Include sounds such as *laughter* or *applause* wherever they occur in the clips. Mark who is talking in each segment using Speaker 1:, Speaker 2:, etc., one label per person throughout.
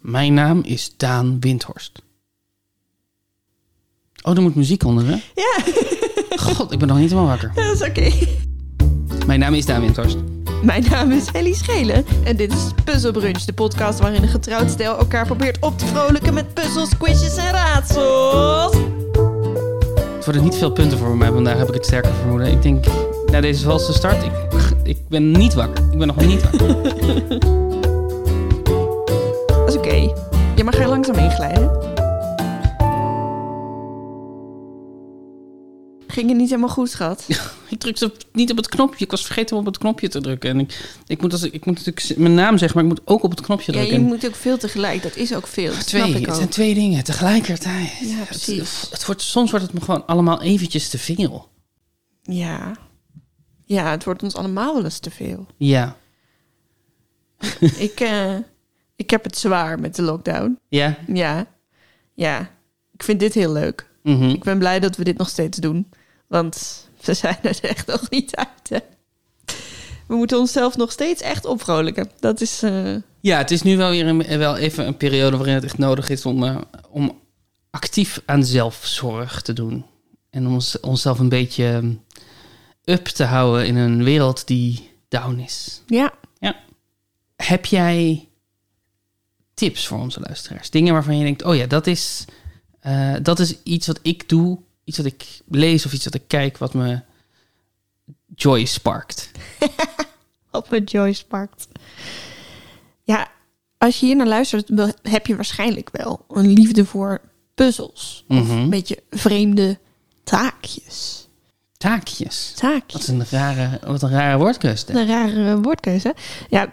Speaker 1: Mijn naam is Daan Windhorst. Oh, er moet muziek onder, hè?
Speaker 2: Ja, *laughs*
Speaker 1: God, ik ben nog niet helemaal wakker.
Speaker 2: dat is oké.
Speaker 1: Mijn naam is Daan Windhorst.
Speaker 2: Mijn naam is Ellie Schelen en dit is Puzzelbrunch, de podcast waarin een getrouwd stijl elkaar probeert op te vrolijken met puzzels, quizjes en raadsels.
Speaker 1: Het worden niet veel punten voor mij vandaag, heb ik het sterke vermoeden. Ik denk, na deze valse start, ik, ik ben niet wakker. Ik ben nog niet wakker. *laughs*
Speaker 2: Dat is oké. Je mag er langzaam heen glijden. Ging het niet helemaal goed, schat?
Speaker 1: ik drukte op- niet op het knopje. Ik was vergeten om op het knopje te drukken. En ik, ik, moet, als, ik ik moet natuurlijk mijn naam zeggen, maar ik moet ook op het knopje
Speaker 2: Ja,
Speaker 1: drukken.
Speaker 2: je moet ook veel tegelijk. Dat is ook veel. Dat snap
Speaker 1: twee,
Speaker 2: ik
Speaker 1: het zijn
Speaker 2: ook.
Speaker 1: twee dingen tegelijkertijd.
Speaker 2: Ja,
Speaker 1: Het-
Speaker 2: precies.
Speaker 1: Het, wordt, soms wordt het me gewoon allemaal eventjes te veel.
Speaker 2: Ja. Ja, het wordt ons allemaal wel eens te
Speaker 1: *laughs*
Speaker 2: veel.
Speaker 1: Ja.
Speaker 2: ik, eh, ik heb het zwaar met de lockdown.
Speaker 1: Ja?
Speaker 2: Ja. Ja. Ik vind dit heel leuk.
Speaker 1: Mhm.
Speaker 2: Ik ben blij dat we dit nog steeds doen. Want we zijn er echt nog niet uit, hè. We moeten onszelf nog steeds echt opvrolijken. Dat is... eh,
Speaker 1: Ja, het is nu wel weer een, wel even een periode waarin het echt nodig is om, eh, om actief aan zelfzorg te doen. En om ons, onszelf een beetje eh, up te houden in een wereld die down is.
Speaker 2: ja.
Speaker 1: Heb jij tips voor onze luisteraars? Dingen waarvan je denkt, oh ja, dat is, eh, dat is iets wat ik doe, iets wat ik lees of iets wat ik kijk, wat me joy sparkt.
Speaker 2: op het Joyce pakt. Ja, als je hier naar luistert, wel- heb je waarschijnlijk wel een liefde voor puzzels.
Speaker 1: Mhm.
Speaker 2: Een beetje vreemde taakjes.
Speaker 1: Taakjes.
Speaker 2: Taakjes.
Speaker 1: Wat een rare, wat een rare woordkeus. hè?
Speaker 2: Een rare eh, woordkeuze. Ja,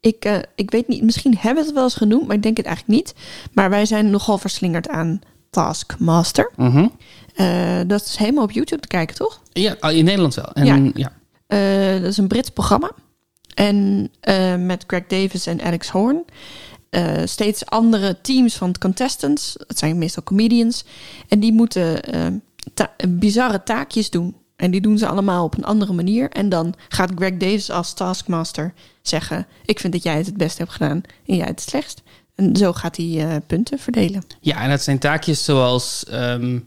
Speaker 2: ik, eh, ik weet niet. Misschien hebben we het wel eens genoemd, maar ik denk het eigenlijk niet. Maar wij zijn nogal verslingerd aan Taskmaster.
Speaker 1: Mhm.
Speaker 2: Eh, dat is helemaal op YouTube te kijken, toch?
Speaker 1: Ja, al in Nederland wel. En, ja.
Speaker 2: Ja. Eh, dat is een Brits programma. En eh, met Greg Davis en Alex Horn. Eh, steeds andere teams van contestants. Het zijn meestal comedians. En die moeten eh, ta- bizarre taakjes doen. En die doen ze allemaal op een andere manier. En dan gaat Greg Davis als taskmaster zeggen... ik vind dat jij het het best hebt gedaan en jij het slechtst. En zo gaat hij eh, punten verdelen.
Speaker 1: ja, en dat zijn taakjes zoals... ehm,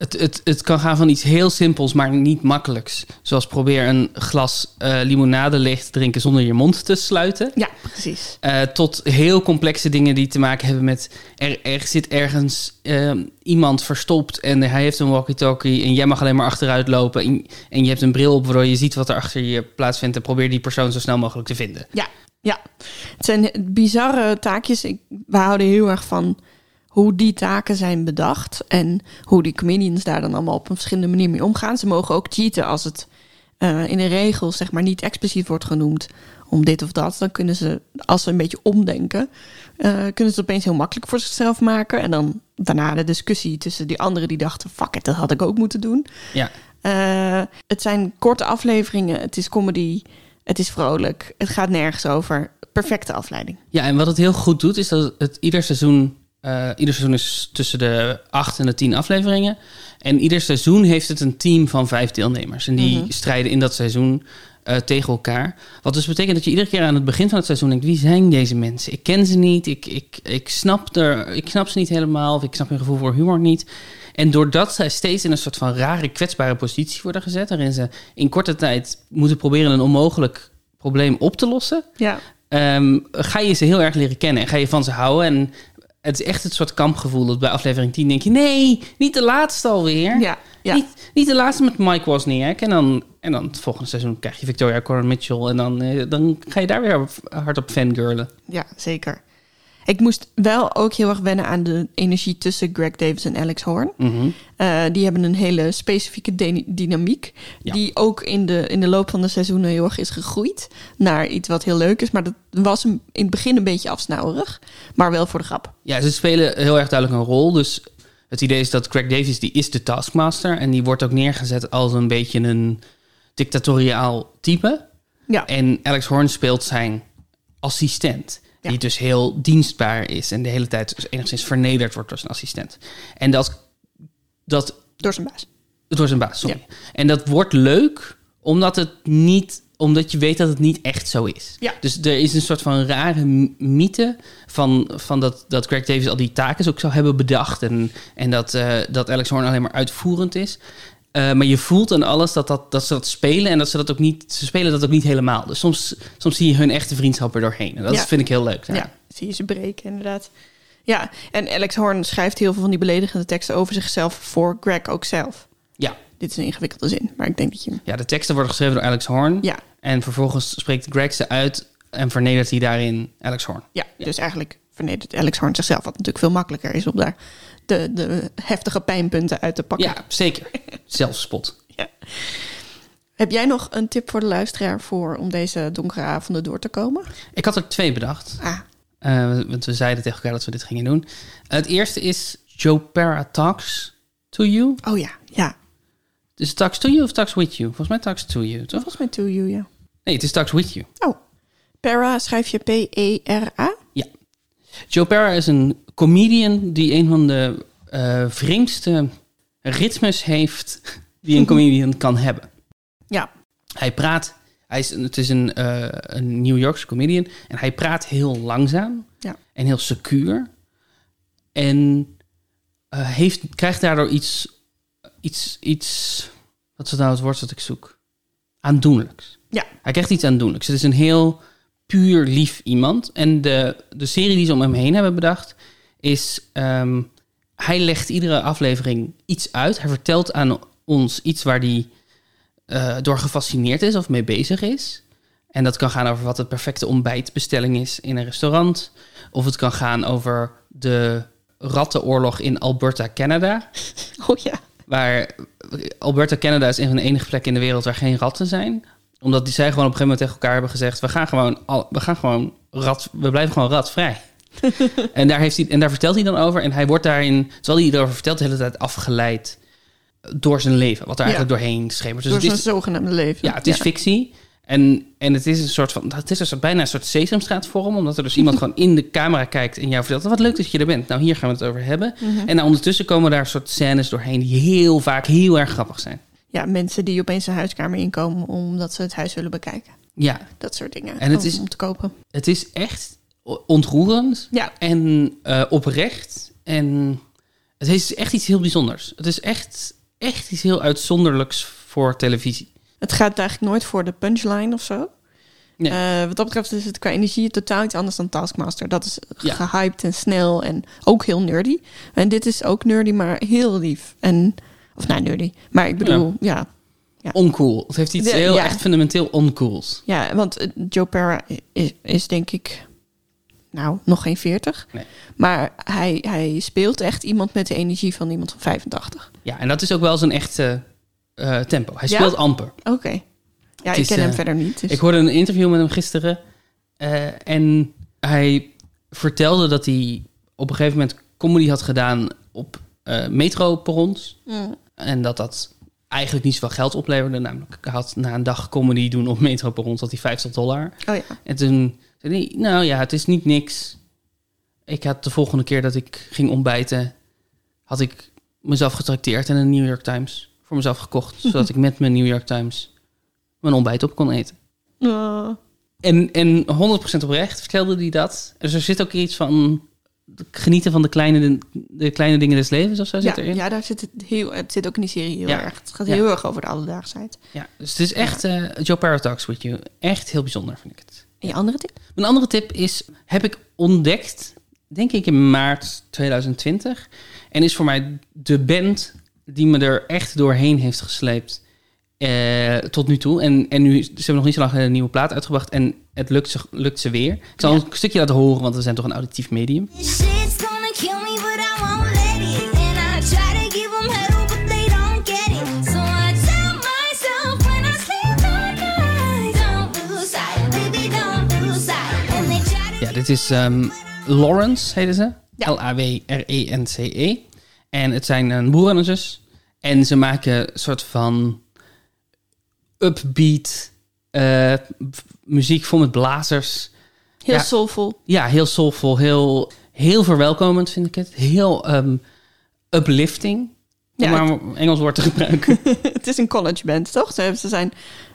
Speaker 1: het, het, het kan gaan van iets heel simpels, maar niet makkelijks. Zoals probeer een glas eh, limonade leeg te drinken zonder je mond te sluiten.
Speaker 2: Ja, precies.
Speaker 1: Eh, tot heel complexe dingen die te maken hebben met... er, er zit ergens ehm, iemand verstopt en hij heeft een walkie-talkie... en jij mag alleen maar achteruit lopen en, en je hebt een bril op... waardoor je ziet wat er achter je plaatsvindt... en probeer die persoon zo snel mogelijk te vinden.
Speaker 2: Ja, ja. Het zijn bizarre taakjes. Ik, we houden heel erg van hoe die taken zijn bedacht en hoe die comedians daar dan allemaal op een verschillende manier mee omgaan. Ze mogen ook cheaten als het eh, in de regels zeg maar niet expliciet wordt genoemd om dit of dat. Dan kunnen ze, als ze een beetje omdenken, eh, kunnen ze het opeens heel makkelijk voor zichzelf maken. En dan daarna de discussie tussen die anderen die dachten, fuck it, dat had ik ook moeten doen.
Speaker 1: Ja,
Speaker 2: Eh, het zijn korte afleveringen. Het is comedy. Het is vrolijk. Het gaat nergens over. Perfecte afleiding.
Speaker 1: Ja, en wat het heel goed doet, is dat het ieder seizoen. eh, ieder seizoen is tussen de acht en de tien afleveringen. En ieder seizoen heeft het een team van vijf deelnemers. En die strijden in dat seizoen eh, tegen elkaar. Wat dus betekent dat je iedere keer aan het begin van het seizoen denkt: wie zijn deze mensen? Ik ken ze niet. Ik, ik, ik, snap, er, ik snap ze niet helemaal. Of ik snap hun gevoel voor humor niet. En doordat zij steeds in een soort van rare, kwetsbare positie worden gezet. waarin ze in korte tijd moeten proberen een onmogelijk probleem op te lossen.
Speaker 2: Ja.
Speaker 1: Ehm, ga je ze heel erg leren kennen en ga je van ze houden. En het is echt het soort kampgevoel dat bij aflevering 10 denk je... nee, niet de laatste alweer.
Speaker 2: Ja. ja.
Speaker 1: Niet, niet de laatste met Mike Wozniak. En dan, en dan het volgende seizoen krijg je Victoria Corin Mitchell. En dan, eh, dan ga je daar weer op- hard op fangirlen.
Speaker 2: ja, zeker. Ik moest wel ook heel erg wennen aan de energie tussen Greg Davis en Alex Horn. Eh, die hebben een hele specifieke de- dynamiek.
Speaker 1: Ja.
Speaker 2: Die ook in de, in de loop van de seizoenen heel erg is gegroeid. Naar iets wat heel leuk is. Maar dat was een- in het begin een beetje afsnauwerig. Maar wel voor de grap.
Speaker 1: Ja, ze spelen heel erg duidelijk een rol. Dus het idee is dat Craig Davis, die is de taskmaster. En die wordt ook neergezet als een beetje een dictatoriaal type.
Speaker 2: Ja.
Speaker 1: En Alex Horn speelt zijn assistent.
Speaker 2: Ja.
Speaker 1: Die dus heel dienstbaar is en de hele tijd dus enigszins vernederd wordt door zijn assistent. En dat, dat
Speaker 2: Door zijn baas.
Speaker 1: door zijn baas, sorry. En dat wordt leuk, omdat het niet omdat je weet dat het niet echt zo is.
Speaker 2: Ja.
Speaker 1: Dus er is een soort van rare m- mythe van, van dat, dat Greg Davis al die taken ook zou hebben bedacht. En, en dat, eh, dat Alex Horn alleen maar uitvoerend is. Eh, maar je voelt aan alles dat, dat, dat ze dat spelen en dat ze dat ook niet. Ze spelen dat ook niet helemaal. Dus soms, soms zie je hun echte vriendschap er doorheen. En dat
Speaker 2: Ja.
Speaker 1: vind ik heel leuk.
Speaker 2: Ja.
Speaker 1: daar.
Speaker 2: zie je ze breken, inderdaad. Ja, en Alex Horn schrijft heel veel van die beledigende teksten over zichzelf voor Greg ook zelf.
Speaker 1: Ja.
Speaker 2: Dit is een ingewikkelde zin, maar ik denk dat je... hem-
Speaker 1: Ja, de teksten worden geschreven door Alex Horn.
Speaker 2: Ja,
Speaker 1: En vervolgens spreekt Greg ze uit en vernedert hij daarin Alex Horn.
Speaker 2: ja,
Speaker 1: Ja.
Speaker 2: dus eigenlijk vernedert Alex Horn zichzelf, wat natuurlijk veel makkelijker is om daar de, de heftige pijnpunten uit te pakken.
Speaker 1: Ja, zeker. Zelfspot.
Speaker 2: Heb jij nog een tip voor de luisteraar voor om deze donkere avonden door te komen?
Speaker 1: Ik had er twee bedacht.
Speaker 2: Ah,
Speaker 1: Eh, want we zeiden tegen elkaar dat we dit gingen doen. het eerste is Joe Para Talks to You.
Speaker 2: oh ja, ja.
Speaker 1: Is het Talks to You of Talks with You? Volgens mij Talks to You, toch?
Speaker 2: Volgens mij To You, ja.
Speaker 1: Nee, het is Talks with You.
Speaker 2: Oh, Para schrijf je E P-E-R-A?
Speaker 1: Joe Para is een comedian die een van de eh, vreemdste ritmes heeft die een comedian kan hebben.
Speaker 2: Ja,
Speaker 1: Hij praat, hij is, een- het is een, eh, een New Yorkse comedian. En hij praat heel langzaam
Speaker 2: Ja.
Speaker 1: en heel secuur. En eh, heeft, krijgt daardoor iets, iets, iets, wat is nou het woord dat ik zoek? Aandoenlijks.
Speaker 2: Ja.
Speaker 1: Hij krijgt iets aandoenlijks. Het is een heel puur lief iemand. En de, de serie die ze om hem heen hebben bedacht, is ehm, hij legt iedere aflevering iets uit. Hij vertelt aan ons iets waar hij eh, door gefascineerd is of mee bezig is. En dat kan gaan over wat het perfecte ontbijtbestelling is in een restaurant. Of het kan gaan over de rattenoorlog in Alberta, Canada.
Speaker 2: oh ja.
Speaker 1: Waar Alberta, Canada is een van de enige plekken in de wereld waar geen ratten zijn. Omdat die zij gewoon op een gegeven moment tegen elkaar hebben gezegd: we gaan gewoon, al, we gaan gewoon rat, we blijven gewoon
Speaker 2: *laughs*
Speaker 1: ratvrij. en, daar heeft hij, en daar vertelt hij dan over. En hij wordt daarin, terwijl hij erover vertelt, de hele tijd afgeleid door zijn leven. Wat er
Speaker 2: Ja.
Speaker 1: eigenlijk doorheen schemert. Dus
Speaker 2: Door
Speaker 1: het
Speaker 2: zijn
Speaker 1: is-
Speaker 2: zogenaamde leven.
Speaker 1: ja, het is fictie. En, en het is een soort van. Het is een soort, bijna een soort sesamstraatvorm. Omdat er dus iemand gewoon in de camera kijkt en jou vertelt. Wat leuk dat je er bent. Nou, hier gaan we het over hebben. En nou, ondertussen komen daar soort scènes doorheen die heel vaak heel erg grappig zijn.
Speaker 2: Ja, mensen die opeens een huiskamer inkomen omdat ze het huis willen bekijken.
Speaker 1: Ja,
Speaker 2: Dat soort dingen.
Speaker 1: En het
Speaker 2: om,
Speaker 1: is-
Speaker 2: om te kopen.
Speaker 1: het is echt o- ontroerend
Speaker 2: Ja,
Speaker 1: en eh, oprecht. En het is echt iets heel bijzonders. Het is echt, echt iets heel uitzonderlijks voor televisie.
Speaker 2: het gaat eigenlijk nooit voor de punchline of zo.
Speaker 1: Nee.
Speaker 2: Eh, wat dat betreft is het qua energie totaal iets anders dan Taskmaster. Dat is
Speaker 1: Ja.
Speaker 2: gehyped en snel en ook heel nerdy. En dit is ook nerdy, maar heel lief. En, of nou, nerdy. Maar ik bedoel, ja,
Speaker 1: Oncool. Het heeft iets
Speaker 2: Ja,
Speaker 1: heel
Speaker 2: ja.
Speaker 1: echt fundamenteel oncools.
Speaker 2: Ja, want eh, Joe Perra is, is denk ik, nou, nog geen 40.
Speaker 1: Nee.
Speaker 2: Maar hij, hij speelt echt iemand met de energie van iemand van 85.
Speaker 1: Ja, en dat is ook wel zijn echte eh, tempo. Hij
Speaker 2: Ja?
Speaker 1: speelt amper.
Speaker 2: Oké. Ja,
Speaker 1: Het
Speaker 2: ik
Speaker 1: is,
Speaker 2: ken hem
Speaker 1: eh,
Speaker 2: verder niet. Dus.
Speaker 1: Ik hoorde een interview met hem gisteren. eh, en hij vertelde dat hij op een gegeven moment comedy had gedaan op eh metroperrons.
Speaker 2: Mm.
Speaker 1: En dat dat eigenlijk niet zoveel geld opleverde. Namelijk, hij had na een dag comedy doen op metroperrons had hij 50 dollar.
Speaker 2: Oh ja.
Speaker 1: En toen zei hij, nou ja, het is niet niks. Ik had de volgende keer dat ik ging ontbijten, had ik mezelf getrakteerd en een New York Times voor mezelf
Speaker 2: *laughs*
Speaker 1: gekocht. Zodat ik met mijn New York Times mijn ontbijt op kon eten.
Speaker 2: Oh,
Speaker 1: En, en 100% oprecht vertelde hij dat. Dus er zit ook iets van genieten van de kleine, de kleine dingen des levens of zo
Speaker 2: ja,
Speaker 1: zit erin.
Speaker 2: ja, daar zit het heel. Het zit ook in die serie heel
Speaker 1: Ja.
Speaker 2: erg. Het gaat
Speaker 1: Ja.
Speaker 2: heel erg over de alledaagsheid.
Speaker 1: Ja, dus het is echt eh, Joe Paradox with you. Echt heel bijzonder vind ik het.
Speaker 2: En je andere tip?
Speaker 1: Mijn andere tip is, heb ik ontdekt, denk ik in maart 2020. En is voor mij de band die me er echt doorheen heeft gesleept eh, tot nu toe. En, en nu, ze hebben nog niet zo lang een nieuwe plaat uitgebracht en het lukt ze, lukt ze weer. Ik zal een stukje laten horen, want we zijn toch een auditief medium.
Speaker 3: Shit's gonna kill me, but I won't let it. And I try to give 'em hell, but they don't get it. So I tell myself when I sleep at night, don't lose sight, baby, don't lose sight. And they try to.
Speaker 1: Ja, dit is ehm, Lawrence, heette ze. E L-A-W-R-E-N-C-E. En het zijn een broer en een zus. En ze maken een soort van upbeat eh, f- muziek vol met blazers.
Speaker 2: Heel
Speaker 1: Ja.
Speaker 2: soulful.
Speaker 1: Ja, heel soulful, heel, heel verwelkomend vind ik het. Heel ehm, uplifting. Om
Speaker 2: Ja,
Speaker 1: maar een Engels woord te gebruiken.
Speaker 2: *laughs* Het is een collegeband, toch? Ze, ze zijn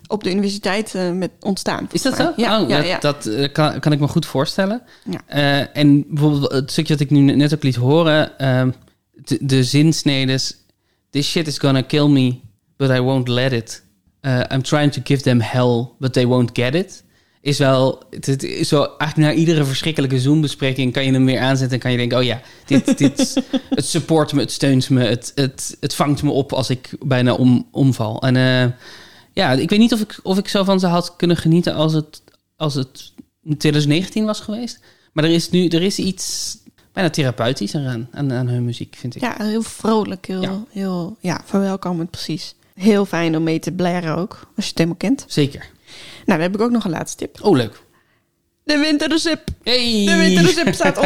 Speaker 2: op de universiteit eh, met ontstaan.
Speaker 1: *laughs* Is dat zo?
Speaker 2: volgens mij. Ja,
Speaker 1: oh,
Speaker 2: ja,
Speaker 1: dat,
Speaker 2: ja.
Speaker 1: dat, eh, kan, kan ik me goed voorstellen.
Speaker 2: Ja.
Speaker 1: Eh, en bijvoorbeeld het stukje dat ik nu net ook liet horen, ehm, de, de zinsnedes. This shit is gonna kill me, but I won't let it. Eh, I'm trying to give them hell, but they won't get it. Is wel, het, het is zo, eigenlijk na iedere verschrikkelijke Zoom-bespreking kan je hem weer aanzetten en kan je denken, oh ja, dit, *laughs* dit, het support me, het steunt me, het, het, het vangt me op als ik bijna om, omval. En eh, ja, ik weet niet of ik, of ik zo van ze had kunnen genieten als het, als het 2019 was geweest. Maar er is nu er is iets bijna therapeutisch aan, aan, aan hun muziek, vind ik.
Speaker 2: Ja, heel vrolijk, heel,
Speaker 1: Ja.
Speaker 2: heel ja, verwelkomend precies. Heel fijn om mee te blaren ook, als je het helemaal kent.
Speaker 1: Zeker.
Speaker 2: Nou, dan heb ik ook nog een laatste tip.
Speaker 1: Oh, leuk.
Speaker 2: De winterrecip.
Speaker 1: Hey!
Speaker 2: De winterrecip staat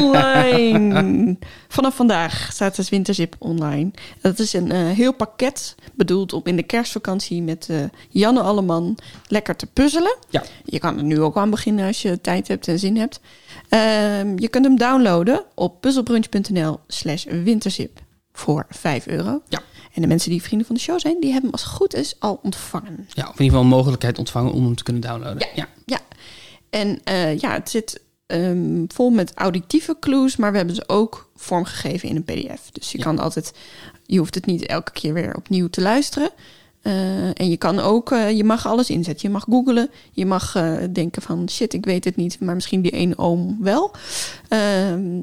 Speaker 2: online. Vanaf vandaag staat dus winterrecip online. Dat is een eh, heel pakket bedoeld om in de kerstvakantie met eh, Janne Alleman lekker te puzzelen.
Speaker 1: Ja.
Speaker 2: Je kan er nu ook aan beginnen als je tijd hebt en zin hebt. Ehm, je kunt hem downloaden op puzzelbrunch.nl slash winterzip voor 5 euro.
Speaker 1: Ja.
Speaker 2: En de mensen die vrienden van de show zijn, die hebben hem als het goed is al ontvangen.
Speaker 1: ja, of in ieder geval een mogelijkheid ontvangen om hem te kunnen downloaden. Ja.
Speaker 2: Ja, en eh, ja, het zit ehm, vol met auditieve clues, maar we hebben ze ook vormgegeven in een PDF. Dus je
Speaker 1: Ja.
Speaker 2: kan altijd, je hoeft het niet elke keer weer opnieuw te luisteren. Eh, en je kan ook, eh, je mag alles inzetten. Je mag googlen, je mag eh, denken van shit, ik weet het niet, maar misschien die één oom wel. Ehm,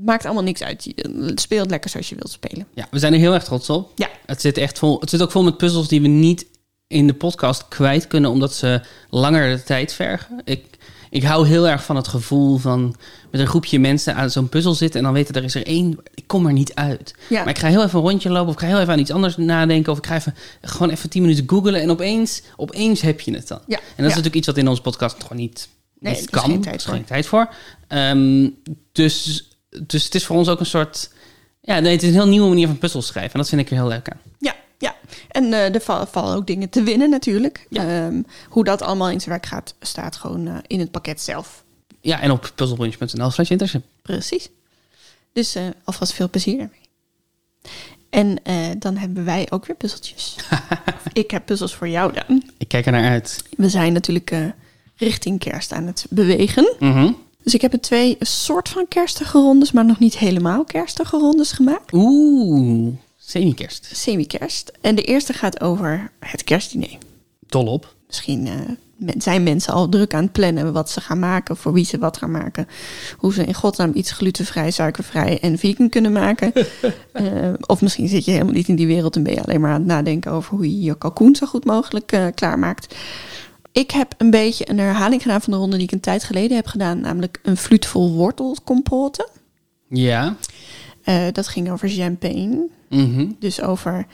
Speaker 2: maakt allemaal niks uit. Je- Speel het lekker zoals je wilt spelen.
Speaker 1: Ja, we zijn er heel erg trots op.
Speaker 2: Ja.
Speaker 1: Het zit, echt vol, het zit ook vol met puzzels die we niet in de podcast kwijt kunnen, omdat ze langer de tijd vergen. Ik, ik hou heel erg van het gevoel van met een groepje mensen aan zo'n puzzel zitten en dan weten er is er één, ik kom er niet uit.
Speaker 2: Ja.
Speaker 1: Maar ik ga heel even een rondje lopen of ik ga heel even aan iets anders nadenken of ik ga even, gewoon even tien minuten googlen en opeens, opeens heb je het dan.
Speaker 2: Ja.
Speaker 1: En dat is
Speaker 2: Ja.
Speaker 1: natuurlijk iets wat in onze podcast gewoon niet, niet
Speaker 2: Nee, er is
Speaker 1: Dus kan.
Speaker 2: geen tijd
Speaker 1: Er is
Speaker 2: voor.
Speaker 1: geen tijd voor. Ehm, dus, dus het is voor ons ook een soort... Ja, nee, het is een heel nieuwe manier van puzzels schrijven. En dat vind ik er heel leuk aan.
Speaker 2: Ja, ja. En eh, er val- vallen ook dingen te winnen natuurlijk.
Speaker 1: Ja.
Speaker 2: Ehm, hoe dat allemaal in zijn werk gaat, staat gewoon eh, in het pakket zelf.
Speaker 1: Ja, en op puzzlebrunch.nl slash intership.
Speaker 2: Precies. Dus eh, alvast veel plezier ermee. En eh, dan hebben wij ook weer puzzeltjes. Ik heb puzzels voor jou dan.
Speaker 1: Ik kijk er naar uit.
Speaker 2: We zijn natuurlijk eh, richting kerst aan het bewegen.
Speaker 1: Mhm.
Speaker 2: Dus ik heb er twee soort van kerstige rondes, maar nog niet helemaal kerstige rondes gemaakt.
Speaker 1: Oeh, semi-kerst.
Speaker 2: Semi-kerst. En de eerste gaat over het kerstdiner.
Speaker 1: Dol op.
Speaker 2: Misschien eh, men- zijn mensen al druk aan het plannen wat ze gaan maken, voor wie ze wat gaan maken. Hoe ze in godsnaam iets glutenvrij, suikervrij en vegan kunnen maken. Eh, of misschien zit je helemaal niet in die wereld en ben je alleen maar aan het nadenken over hoe je je kalkoen zo goed mogelijk eh, klaarmaakt. Ik heb een beetje een herhaling gedaan van de ronde die ik een tijd geleden heb gedaan, namelijk een fluut vol wortelcompote.
Speaker 1: Ja.
Speaker 2: Eh, dat ging over champagne.
Speaker 1: Mhm.
Speaker 2: Dus over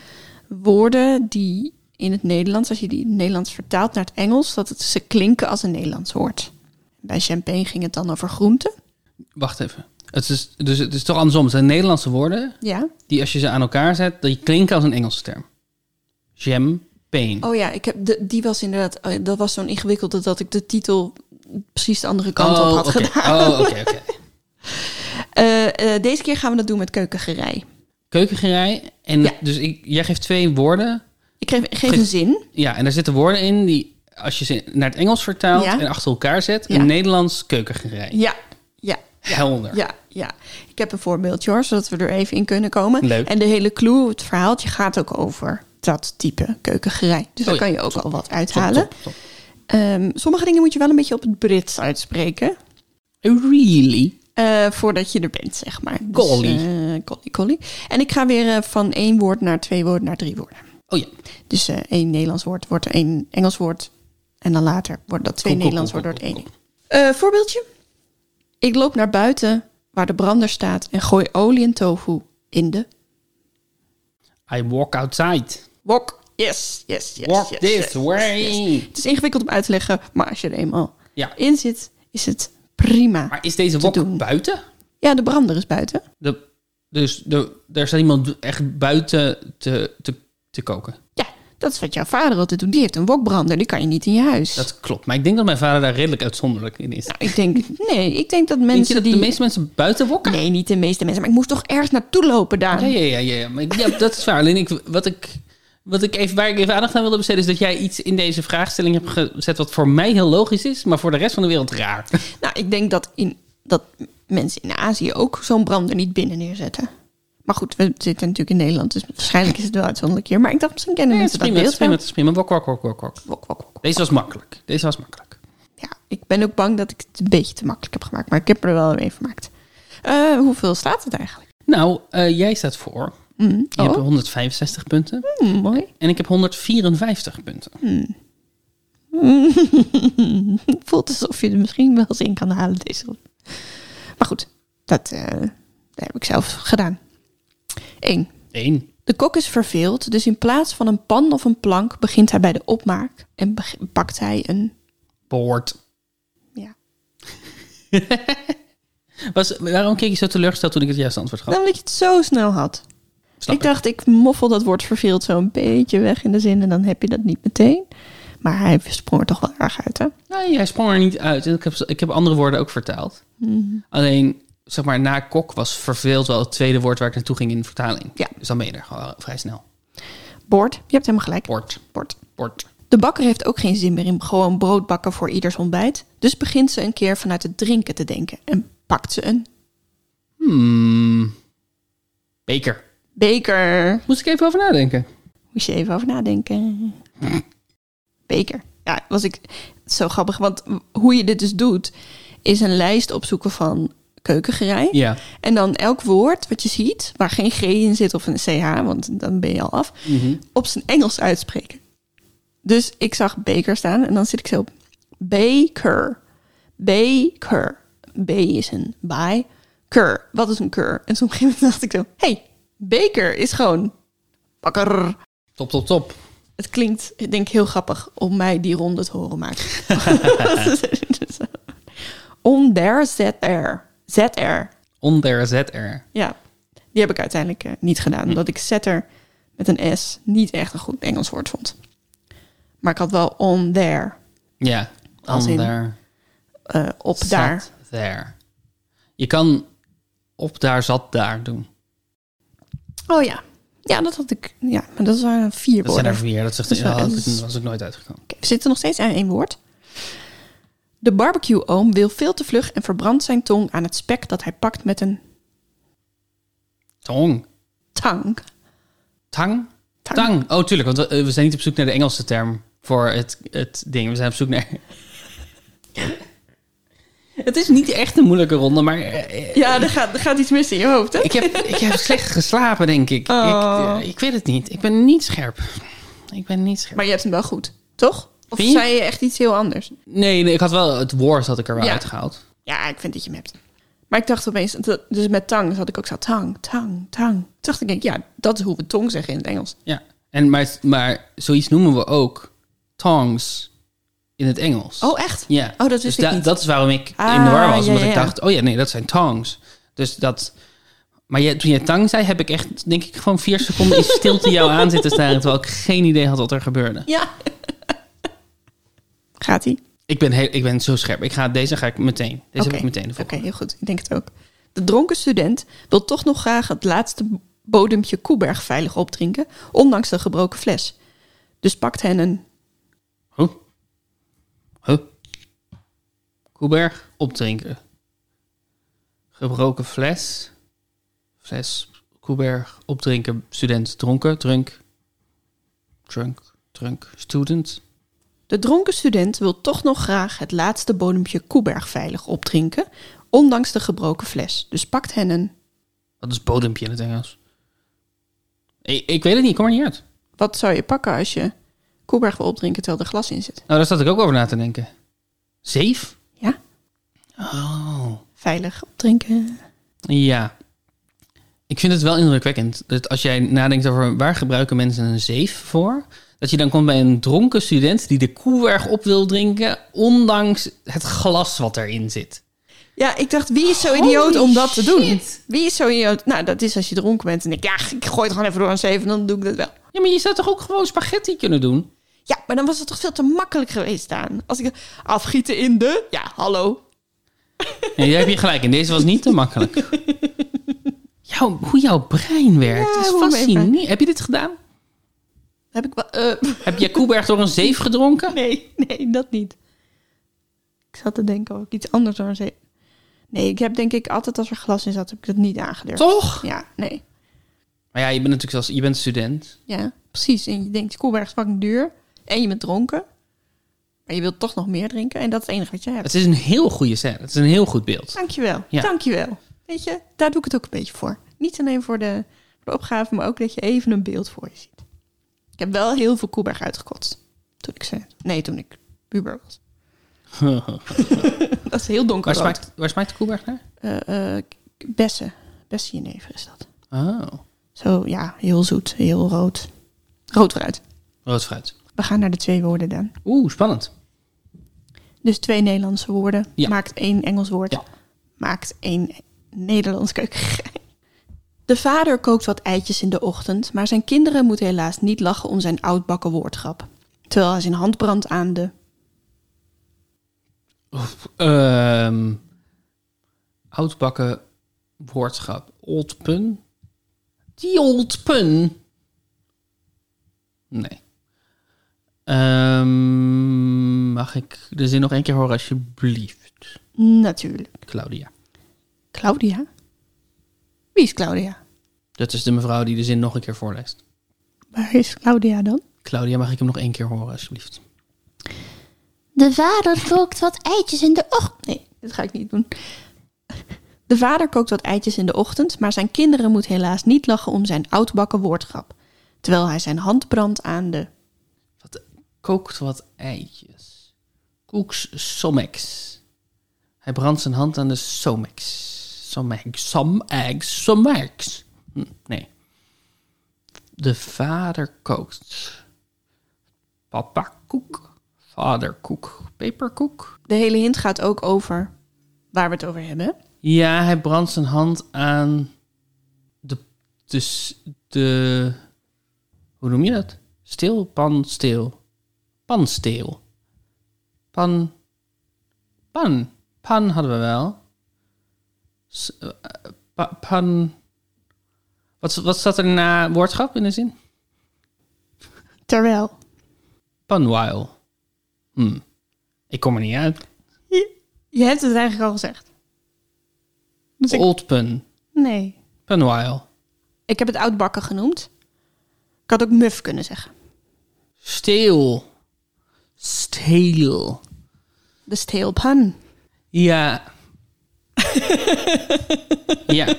Speaker 2: woorden die in het Nederlands, als je die in het Nederlands vertaalt naar het Engels, dat het, ze klinken als een Nederlands woord. Bij champagne ging het dan over groenten.
Speaker 1: Wacht even. Het is, dus het is toch andersom. Het zijn Nederlandse woorden
Speaker 2: Ja.
Speaker 1: die als je ze aan elkaar zet, die klinken als een Engelse term. Jam, pain.
Speaker 2: Oh ja, ik heb de, die was inderdaad, eh, dat was zo'n ingewikkelde dat ik de titel precies de andere kant op had
Speaker 1: oké.
Speaker 2: gedaan.
Speaker 1: Oh, oké, oké.
Speaker 2: *laughs* Eh, eh, deze keer gaan we dat doen met keukengerei.
Speaker 1: Keukengerei. En
Speaker 2: Ja.
Speaker 1: dus ik, jij geeft twee woorden.
Speaker 2: Ik geef, ik geef een zin.
Speaker 1: Ja, en daar zitten woorden in die als je ze naar het Engels vertaalt
Speaker 2: Ja.
Speaker 1: en achter elkaar zet,
Speaker 2: Ja.
Speaker 1: een Nederlands keukengerei.
Speaker 2: Ja, ja,
Speaker 1: Helder.
Speaker 2: Ja, ja. Ik heb een voorbeeldje hoor, zodat we er even in kunnen komen.
Speaker 1: Leuk.
Speaker 2: En de hele clue, het verhaaltje gaat ook over dat type keukengerei. Dus daar
Speaker 1: Oh ja,
Speaker 2: kan je ook al wat
Speaker 1: Top,
Speaker 2: uithalen.
Speaker 1: top, top.
Speaker 2: Ehm, sommige dingen moet je wel een beetje op het Brits uitspreken.
Speaker 1: Oh, Really?
Speaker 2: eh, voordat je er bent, zeg maar.
Speaker 1: Golly.
Speaker 2: Dus, eh, golly, golly. En ik ga weer eh, van één woord naar twee woorden naar drie woorden.
Speaker 1: Oh ja.
Speaker 2: Dus eh, één Nederlands woord wordt er één Engels woord. En dan later wordt dat twee
Speaker 1: Kom, kom,
Speaker 2: Nederlands
Speaker 1: kom,
Speaker 2: woorden wordt
Speaker 1: kom,
Speaker 2: één. Eh, voorbeeldje. Ik loop naar buiten waar de brander staat en gooi olie en tofu in de
Speaker 1: I walk outside.
Speaker 2: wok. Yes, yes, yes.
Speaker 1: Walk
Speaker 2: yes,
Speaker 1: this
Speaker 2: yes, yes,
Speaker 1: way.
Speaker 2: yes. Het is ingewikkeld om uit te leggen, maar als je er eenmaal
Speaker 1: Ja.
Speaker 2: in zit, is het prima.
Speaker 1: Maar is deze wok
Speaker 2: doen.
Speaker 1: buiten?
Speaker 2: Ja, de brander is buiten.
Speaker 1: De, dus de, er staat iemand echt buiten te, te, te koken.
Speaker 2: Ja, Dat is wat jouw vader altijd doet. Die heeft een wokbrander, die kan je niet in je huis.
Speaker 1: Dat klopt. Maar ik denk dat mijn vader daar redelijk uitzonderlijk in is.
Speaker 2: Ik denk, nee, ik denk dat
Speaker 1: denk je
Speaker 2: mensen
Speaker 1: dat
Speaker 2: die...
Speaker 1: de meeste mensen buiten wokken?
Speaker 2: Nee, niet de meeste mensen. Maar ik moest toch ergens naartoe lopen daar.
Speaker 1: Ja, ja, ja, ja, ja. Maar ik- ja, dat is waar. Alleen ik, wat ik, wat ik even, waar ik even aandacht aan wilde besteden... is dat jij iets in deze vraagstelling hebt gezet... wat voor mij heel logisch is, maar voor de rest van de wereld raar.
Speaker 2: Nou, ik denk dat, in, dat mensen in Azië ook zo'n brander niet binnen neerzetten. Maar goed, we zitten natuurlijk in Nederland, dus waarschijnlijk is het wel uitzonderlijk hier. Maar ik dacht, misschien kennen
Speaker 1: Nee, het is
Speaker 2: mensen
Speaker 1: prima, het is
Speaker 2: dat
Speaker 1: prima,
Speaker 2: beeld
Speaker 1: het is prima. Wok, wok, wok, wok, wok.
Speaker 2: wel. Wok, wok, wok.
Speaker 1: Deze was makkelijk. Deze was makkelijk.
Speaker 2: Ja, ik ben ook bang dat ik het een beetje te makkelijk heb gemaakt, maar ik heb er wel een gemaakt. Eh, hoeveel staat het eigenlijk?
Speaker 1: Nou, eh, jij staat voor.
Speaker 2: Mm,
Speaker 1: Je hebt
Speaker 2: oh,
Speaker 1: 165 punten.
Speaker 2: mm, mooi. *laughs*
Speaker 1: En ik heb 154 punten.
Speaker 2: Het voelt alsof je er misschien wel eens in kan halen deze ronde. Maar goed, dat, eh, dat heb ik zelf gedaan. 1.
Speaker 1: Eén.
Speaker 2: De kok is verveeld, dus in plaats van een pan of een plank begint hij bij de opmaak en beg- pakt hij een.
Speaker 1: Boord.
Speaker 2: Ja.
Speaker 1: Was, waarom keek je zo teleurgesteld toen ik het juiste antwoord gaf?
Speaker 2: Nou, Omdat je het zo snel had.
Speaker 1: Snap
Speaker 2: ik dacht, ik moffel dat woord verveeld zo een beetje weg in de zin en dan heb je dat niet meteen. Maar hij sprong er toch wel erg uit, hè?
Speaker 1: Nee, hij sprong er niet uit. En Ik heb, ik heb andere woorden ook vertaald. Alleen, zeg maar, na kok was verveeld wel het tweede woord waar ik naartoe ging in de vertaling.
Speaker 2: Ja.
Speaker 1: Dus dan ben je er gewoon vrij snel.
Speaker 2: Bord, je hebt helemaal gelijk.
Speaker 1: Bord,
Speaker 2: Bord.
Speaker 1: bord.
Speaker 2: De bakker heeft ook geen zin meer in gewoon brood bakken voor ieders ontbijt. Dus begint ze een keer vanuit het drinken te denken en pakt ze een
Speaker 1: Hmm. Beker.
Speaker 2: beker.
Speaker 1: Moest ik even over nadenken.
Speaker 2: Moest je even over nadenken. Beker. Ja, was ik zo grappig. Want hoe je dit dus doet, is een lijst opzoeken van keukengerei.
Speaker 1: Ja.
Speaker 2: En dan elk woord wat je ziet, waar geen G in zit of een CH, want dan ben je al af, op zijn Engels uitspreken. Dus ik zag beker staan en dan zit ik zo op baker, baker. B is een bij, keur. Wat is een keur? En op een gegeven moment dacht ik zo, hey, beker is gewoon bakker.
Speaker 1: Top, top, top.
Speaker 2: Het klinkt, ik denk, heel grappig om mij die ronde te
Speaker 1: *laughs*
Speaker 2: horen maken. On there, ZR. ZR.
Speaker 1: Onder ZR.
Speaker 2: Ja, die heb ik uiteindelijk eh, niet
Speaker 1: Hm.
Speaker 2: gedaan. Omdat ik setter met een S niet echt een goed Engels woord vond. Maar ik had wel on there,
Speaker 1: Ja.
Speaker 2: Als in-
Speaker 1: Onder
Speaker 2: eh, op daar.
Speaker 1: zat there. Je kan op daar zat daar doen.
Speaker 2: Oh ja. Ja, dat had ik. Ja, maar dat waren vier
Speaker 1: Dat zijn
Speaker 2: woorden.
Speaker 1: er vier. Dat, zegt,
Speaker 2: Dat is wel-
Speaker 1: ja, dat
Speaker 2: dat is-
Speaker 1: was ik nooit uitgekomen.
Speaker 2: Oké, we zitten nog steeds aan één woord. De barbecue-oom wil veel te vlug en verbrandt zijn tong aan het spek dat hij pakt met een
Speaker 1: Tong.
Speaker 2: tang.
Speaker 1: Tang?
Speaker 2: Tang.
Speaker 1: Tang. Oh, tuurlijk. Want we, eh, we zijn niet op zoek naar de Engelse term voor het, het ding. We zijn op zoek naar... *laughs* het is niet echt een moeilijke ronde, maar... eh, eh,
Speaker 2: Ja, er gaat, er gaat iets mis in je hoofd, hè?
Speaker 1: Ik heb, ik heb slecht geslapen, denk ik.
Speaker 2: Oh.
Speaker 1: Ik, eh, ik weet het niet. Ik ben niet scherp. Ik ben niet scherp.
Speaker 2: Maar je hebt hem wel goed, toch? Of
Speaker 1: Vind je?
Speaker 2: zei je echt iets heel anders?
Speaker 1: Nee, nee, ik had wel... Het woord had ik er wel
Speaker 2: Ja.
Speaker 1: uitgehaald.
Speaker 2: Ja, ik vind dat je hem hebt. Maar ik dacht opeens, dat- dus met tang zat ik ook zo tang, tang, tang. Toen dacht ik, denk, ja, dat is hoe we tong zeggen in het Engels.
Speaker 1: Ja. En, maar, maar zoiets noemen we ook tongs in het Engels.
Speaker 2: Oh, echt?
Speaker 1: Ja.
Speaker 2: Oh, dat wist
Speaker 1: dus
Speaker 2: ik niet.
Speaker 1: dat is waarom ik in
Speaker 2: Ah,
Speaker 1: de war was.
Speaker 2: ja,
Speaker 1: Omdat
Speaker 2: ja,
Speaker 1: ik
Speaker 2: ja.
Speaker 1: dacht, oh ja, nee, dat zijn tongs. Dus dat... Maar jij- toen je tang zei, heb ik echt, denk ik, gewoon vier seconden in stilte jou aan zitten staren. Terwijl ik geen idee had wat er gebeurde.
Speaker 2: Ja. *laughs* Gaat ie?
Speaker 1: Ik ben, heel, ik ben zo scherp. Ik ga, deze ga ik meteen. Deze heb ik meteen de
Speaker 2: Oké,
Speaker 1: volgende.
Speaker 2: heel goed. Ik denk het ook. De dronken student wil toch nog graag het laatste bodempje Koeberg veilig opdrinken, ondanks de gebroken fles. Dus pakt hen een
Speaker 1: Huh? Huh? Koeberg, opdrinken. Gebroken fles. Fles, Koeberg, opdrinken. Student, dronken, drunk. Drunk, drunk, student.
Speaker 2: De dronken student wil toch nog graag het laatste bodempje Koeberg veilig opdrinken, ondanks de gebroken fles. Dus pakt hen een.
Speaker 1: Wat is bodempje in het Engels? Ik, ik weet het niet, ik kom er niet uit.
Speaker 2: Wat zou je pakken als je Koeberg wil opdrinken terwijl er glas in zit?
Speaker 1: Nou, daar zat ik ook over na te denken. Zeef?
Speaker 2: Ja,
Speaker 1: Oh.
Speaker 2: veilig opdrinken.
Speaker 1: Ja. Ik vind het wel indrukwekkend dat als jij nadenkt over waar gebruiken mensen een zeef voor, dat je dan komt bij een dronken student die de koewerg op wil drinken, ondanks het glas wat erin zit.
Speaker 2: Ja, ik dacht, wie is zo idioot
Speaker 4: Holy
Speaker 2: om dat te doen?
Speaker 4: shit.
Speaker 2: Wie is zo idioot? Nou, dat is als je dronken bent en ik, ja, ik gooi het gewoon even door een zeven, dan doe ik dat wel.
Speaker 1: Ja, maar je zou toch ook gewoon spaghetti kunnen doen?
Speaker 2: Ja, maar dan was het toch veel te makkelijk geweest, Daan? Als ik afgieten in de, ja, hallo.
Speaker 1: En jij hebt je gelijk. En deze was niet te
Speaker 2: *laughs*
Speaker 1: makkelijk. Jouw, hoe jouw brein werkt.
Speaker 2: Ja,
Speaker 1: is
Speaker 2: hoe mijn
Speaker 1: fascinerend. Heb je dit gedaan?
Speaker 2: Heb ik wel, eh,
Speaker 1: Heb jij Koeberg door een zeef gedronken?
Speaker 2: *laughs* nee, nee, dat niet. Ik zat te denken ook iets anders dan een zeven. Nee, ik heb denk ik altijd als er glas in zat, heb ik dat niet aangeleerd.
Speaker 1: Toch?
Speaker 2: Ja, nee.
Speaker 1: Maar ja, je bent natuurlijk zelfs, je bent student.
Speaker 2: Ja, precies. En je denkt, Koelberg is fucking duur. En je bent dronken. Maar je wilt toch nog meer drinken. En dat is het enige wat je hebt.
Speaker 1: Het is een heel goede set. Het is een heel goed *laughs* beeld.
Speaker 2: Dankjewel.
Speaker 1: Ja.
Speaker 2: Dankjewel. Weet je, daar doe ik het ook een beetje voor. Niet alleen voor de, voor de opgave, maar ook dat je even een beeld voor je ziet. Ik heb wel heel veel Koelberg uitgekotst. Toen ik ze... Nee, toen ik puber was. Dat is heel donker
Speaker 1: Waar smaakt, waar smaakt de Koeberg naar?
Speaker 2: Eh, eh, k- bessen. Bessenjenever is dat.
Speaker 1: Oh,
Speaker 2: Zo, ja, heel zoet, heel rood. Rood fruit.
Speaker 1: rood fruit.
Speaker 2: We gaan naar de twee woorden dan.
Speaker 1: Oeh, spannend.
Speaker 2: Dus twee Nederlandse woorden.
Speaker 1: Ja.
Speaker 2: Maakt één Engels woord.
Speaker 1: Ja.
Speaker 2: Maakt één Nederlands keuken. De vader kookt wat eitjes in de ochtend, maar zijn kinderen moeten helaas niet lachen om zijn oudbakken woordgrap. Terwijl hij zijn hand brandt aan de...
Speaker 1: Ehm oudbakken woordschap. Old pun. Die old pun. Nee. Ehm, mag ik de zin nog één keer horen, alsjeblieft,
Speaker 2: Natuurlijk.
Speaker 1: Claudia?
Speaker 2: Claudia? Wie is Claudia?
Speaker 1: Dat is de mevrouw die de zin nog een keer voorleest.
Speaker 2: Waar is Claudia dan?
Speaker 1: Claudia, mag ik hem nog één keer horen, alsjeblieft?
Speaker 4: De vader kookt wat eitjes in de ochtend.
Speaker 2: Nee, dat ga ik niet doen. De vader kookt wat eitjes in de ochtend, maar zijn kinderen moeten helaas niet lachen om zijn oudbakken woordgrap. Terwijl hij zijn hand brandt aan de...
Speaker 1: Wat, kookt wat eitjes. Koeks somex. Hij brandt zijn hand aan de somex. Somex, somex, somex. Hm, nee. De vader kookt. Papa koek. Vader koek. Peperkoek.
Speaker 2: De hele hint gaat ook over waar we het over hebben.
Speaker 1: Ja, hij brandt zijn hand aan de, de, s- de hoe noem je dat? Stil, pan, steel. Pansteel. Pan, pan. Pan hadden we wel. S- eh, pa- pan. Wat, wat staat er na woordschap in de zin?
Speaker 2: Terwijl.
Speaker 1: Panwile. Hm. Ik kom er niet uit.
Speaker 2: Je, je hebt het eigenlijk al gezegd. Dus ik,
Speaker 1: Old pun.
Speaker 2: nee.
Speaker 1: Panwile.
Speaker 2: Ik heb het oudbakken genoemd. Ik had ook muf kunnen zeggen.
Speaker 1: Steel. Steel.
Speaker 2: De steelpan.
Speaker 1: *laughs* Ja. ja.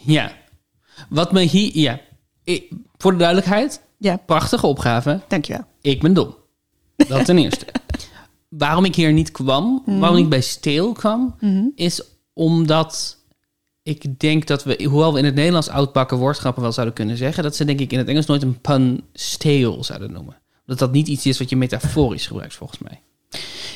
Speaker 1: Ja. Wat me hier... Ja. Ik- voor de duidelijkheid,
Speaker 2: Ja,
Speaker 1: prachtige opgave.
Speaker 2: dankjewel.
Speaker 1: Ik ben dom. Dat ten *laughs* eerste. waarom ik hier niet kwam, waarom ik bij steel kwam, is omdat ik denk dat we, hoewel we in het Nederlands oudbakken woordgrappen wel zouden kunnen zeggen, dat ze denk ik in het Engels nooit een pun steel zouden noemen. Omdat dat niet iets is wat je metaforisch gebruikt, volgens mij.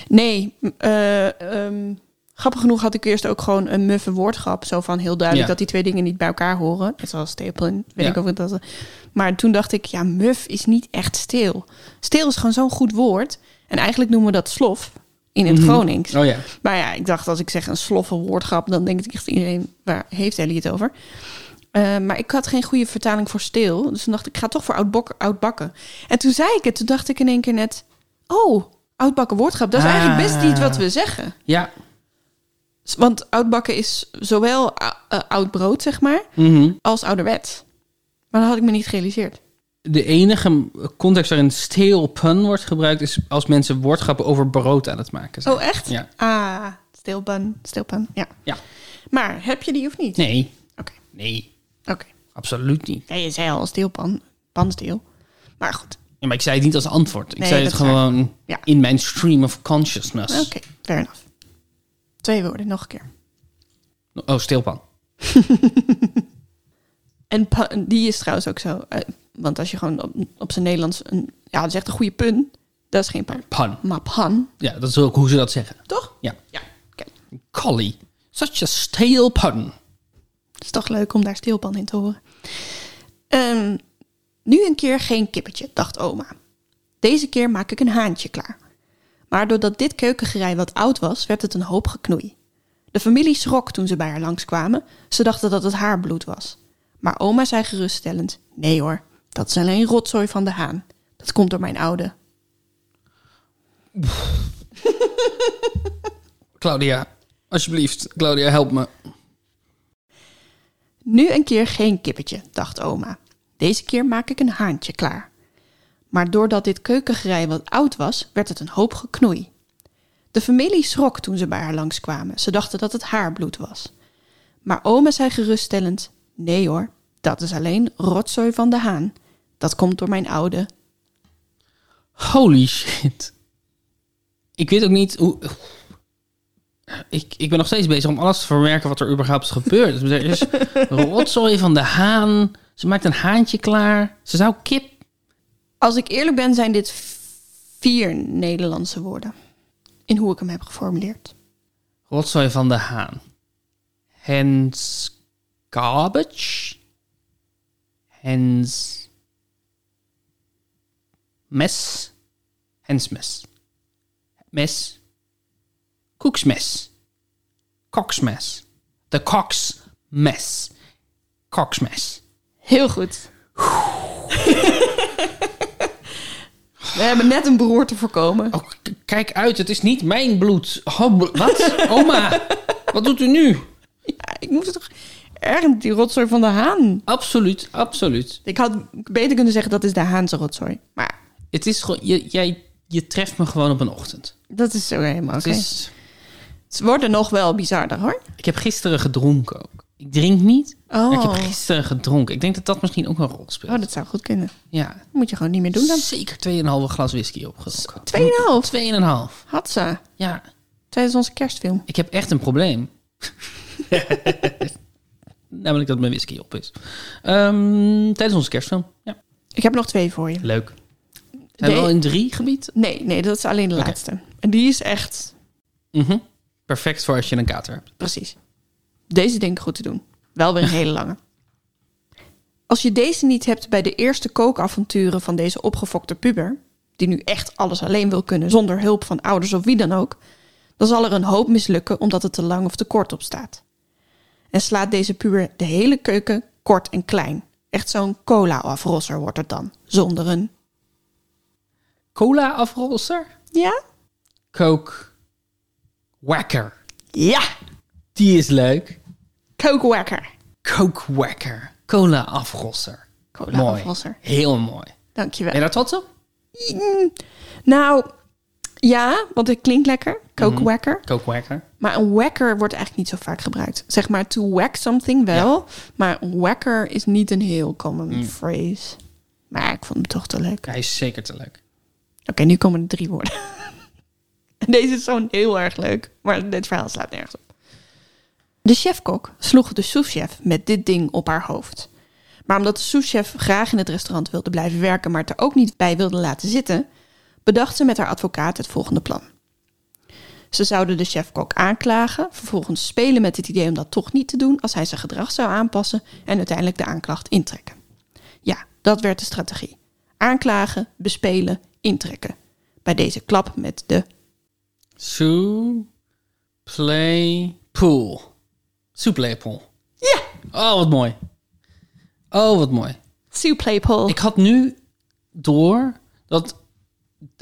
Speaker 2: Nee, m- eh, ehm, grappig genoeg had ik eerst ook gewoon een muffe woordgrap. Zo van heel duidelijk
Speaker 1: Ja.
Speaker 2: dat die twee dingen niet bij elkaar horen. Net zoals stapel en weet
Speaker 1: Ja.
Speaker 2: ik ook wat dat... Maar toen dacht ik, ja, muf is niet echt stil. Stil is gewoon zo'n goed woord. En eigenlijk noemen we dat slof in het Gronings.
Speaker 1: Oh ja.
Speaker 2: Maar Nou ja, ik dacht als ik zeg een sloffe woordgrap... dan denkt echt iedereen, waar heeft Ellie het over? Eh, maar ik had geen goede vertaling voor stil. Dus toen dacht ik, ik ga toch voor oud bakken. En toen zei ik het, toen dacht ik in één keer net... oh, oudbakken woordgrap, dat is eigenlijk best niet wat we zeggen.
Speaker 1: Ja.
Speaker 2: S- Want oudbakken is zowel ou- eh, oud brood, zeg maar,
Speaker 1: Mhm.
Speaker 2: als ouderwet. Maar dat had ik me niet gerealiseerd.
Speaker 1: De enige context waarin steel pun wordt gebruikt is als mensen woordgrappen over brood aan het maken zijn.
Speaker 2: Oh, echt?
Speaker 1: Ja.
Speaker 2: Ah, stilpan, stilpan, ja.
Speaker 1: Ja.
Speaker 2: Maar heb je die of niet?
Speaker 1: Nee,
Speaker 2: Oké,
Speaker 1: nee,
Speaker 2: oké.
Speaker 1: absoluut niet.
Speaker 2: Ja, je zei al stilpan, panstil. Maar goed,
Speaker 1: Ja, maar ik zei het niet als antwoord. Ik
Speaker 2: Nee,
Speaker 1: zei het
Speaker 2: dat is waar.
Speaker 1: gewoon
Speaker 2: Ja.
Speaker 1: in mijn stream of consciousness.
Speaker 2: oké, fair enough. Twee woorden, nog een keer.
Speaker 1: Oh, steelpan.
Speaker 2: En pa- die is trouwens ook zo. eh, want als je gewoon op, op zijn Nederlands... Een, ja, dat is echt een goede pun. Dat is geen pan.
Speaker 1: Pan.
Speaker 2: Maar pan,
Speaker 1: Ja, dat is ook hoe ze dat zeggen.
Speaker 2: toch?
Speaker 1: Ja.
Speaker 2: Ja, oké.
Speaker 1: Ik collie. Such a stale pun.
Speaker 2: Het is toch leuk om daar stilpan in te horen. Ehm, nu een keer geen kippetje, dacht oma. Deze keer maak ik een haantje klaar. Maar doordat dit keukengerei wat oud was, werd het een hoop geknoei. De familie schrok toen ze bij haar langskwamen. Ze dachten dat het haar bloed was. Maar oma zei geruststellend: Nee hoor, dat is alleen rotzooi van de haan. Dat komt door mijn oude.
Speaker 1: Claudia, alsjeblieft. Claudia, help me.
Speaker 2: Nu een keer geen kippetje, dacht oma. Deze keer maak ik een haantje klaar. Maar doordat dit keukengerei wat oud was, werd het een hoop geknoei. De familie schrok toen ze bij haar langskwamen. Ze dachten dat het haar bloed was. Maar oma zei geruststellend: Nee hoor, dat is alleen rotzooi van de haan. Dat komt door mijn oude.
Speaker 1: Holy shit. Ik weet ook niet hoe... Ik, ik ben nog steeds bezig om alles te verwerken wat er überhaupt is gebeurd. Dus Er is rotzooi van de haan. Ze maakt een haantje klaar. Ze zou kip...
Speaker 2: Als ik eerlijk ben, zijn dit vier Nederlandse woorden. In hoe ik hem heb geformuleerd.
Speaker 1: Rotzooi van de haan. Hens garbage. Hens mes. Hensmes. Mes. Koeksmes. Koksmes. De koksmes. Koksmes.
Speaker 2: Heel goed. We hebben net een beroerte voorkomen.
Speaker 1: Oh, k- kijk uit, het is niet mijn bloed. Oh, bl- wat? Oma, wat doet u nu?
Speaker 2: Ja, ik moest toch ergens die rotzooi van de haan.
Speaker 1: Absoluut, absoluut.
Speaker 2: Ik had beter kunnen zeggen dat is de Haanse rotzooi. Maar
Speaker 1: Het is gewoon, je, jij, je treft me gewoon op een ochtend.
Speaker 2: dat is zo helemaal oké.
Speaker 1: Het is,
Speaker 2: Het worden nog wel bizarder hoor.
Speaker 1: ik heb gisteren gedronken ook. Ik drink niet, maar ik heb
Speaker 2: Oh.
Speaker 1: gisteren gedronken. Ik denk dat dat misschien ook een rol speelt.
Speaker 2: Oh, dat zou goed kunnen.
Speaker 1: Ja,
Speaker 2: Dat moet je gewoon niet meer doen dan.
Speaker 1: zeker 2,5 glas whisky opgedronken.
Speaker 2: Tweeënhalf.
Speaker 1: 2,5.
Speaker 2: Had ze.
Speaker 1: Ja,
Speaker 2: Tijdens onze kerstfilm.
Speaker 1: ik heb echt een probleem.
Speaker 2: *laughs*
Speaker 1: Namelijk dat mijn whisky op is. Ehm, tijdens onze kerstfilm. Ja,
Speaker 2: Ik heb nog twee voor je.
Speaker 1: leuk. Zijn we
Speaker 2: Nee.
Speaker 1: al in drie gebied?
Speaker 2: Nee, nee, dat is alleen de
Speaker 1: Oké.
Speaker 2: laatste. En die is echt
Speaker 1: Mhm. Perfect voor als je een kater hebt.
Speaker 2: Precies. Deze denk ik goed te doen. Wel weer een hele lange. Als je deze niet hebt bij de eerste kookavonturen van deze opgefokte puber, die nu echt alles alleen wil kunnen zonder hulp van ouders of wie dan ook, dan zal er een hoop mislukken omdat het te lang of te kort op staat. En slaat deze puber de hele keuken kort en klein. Echt zo'n cola-afrosser wordt het dan, zonder een...
Speaker 1: Cola-afrolster?
Speaker 2: Ja?
Speaker 1: Coke. Wacker.
Speaker 2: Ja!
Speaker 1: Die is leuk.
Speaker 2: Kookwekker.
Speaker 1: Kookwekker. Cola afrosser.
Speaker 2: Cola-afrosser.
Speaker 1: Mooi. Heel mooi.
Speaker 2: Dankjewel.
Speaker 1: Ben je daar trots op?
Speaker 2: Nou, ja, want het klinkt lekker. Kookwekker.
Speaker 1: Kookwekker.
Speaker 2: Maar een wacker wordt eigenlijk niet zo vaak gebruikt. Zeg maar to whack something wel. Maar een wacker is niet een heel common phrase. Maar ik vond hem toch te leuk. Oké,
Speaker 1: Hij is zeker te leuk.
Speaker 2: nu komen de drie woorden. *laughs* En Deze is zo'n heel erg leuk. Maar dit verhaal slaat nergens op. De chefkok sloeg de souschef met dit ding op haar hoofd. Maar omdat de souschef graag in het restaurant wilde blijven werken, maar het er ook niet bij wilde laten zitten, bedacht ze met haar advocaat het volgende plan. Ze zouden de chefkok aanklagen, vervolgens spelen met het idee om dat toch niet te doen als hij zijn gedrag zou aanpassen en uiteindelijk de aanklacht intrekken. Ja, dat werd de strategie. Aanklagen, bespelen, intrekken. Bij deze klap met de
Speaker 1: Sue. Play. Pool. Sue play pool.
Speaker 2: ja,
Speaker 1: Oh, wat mooi. Oh, wat mooi.
Speaker 2: Sue Playpole.
Speaker 1: Ik had nu door dat, *laughs*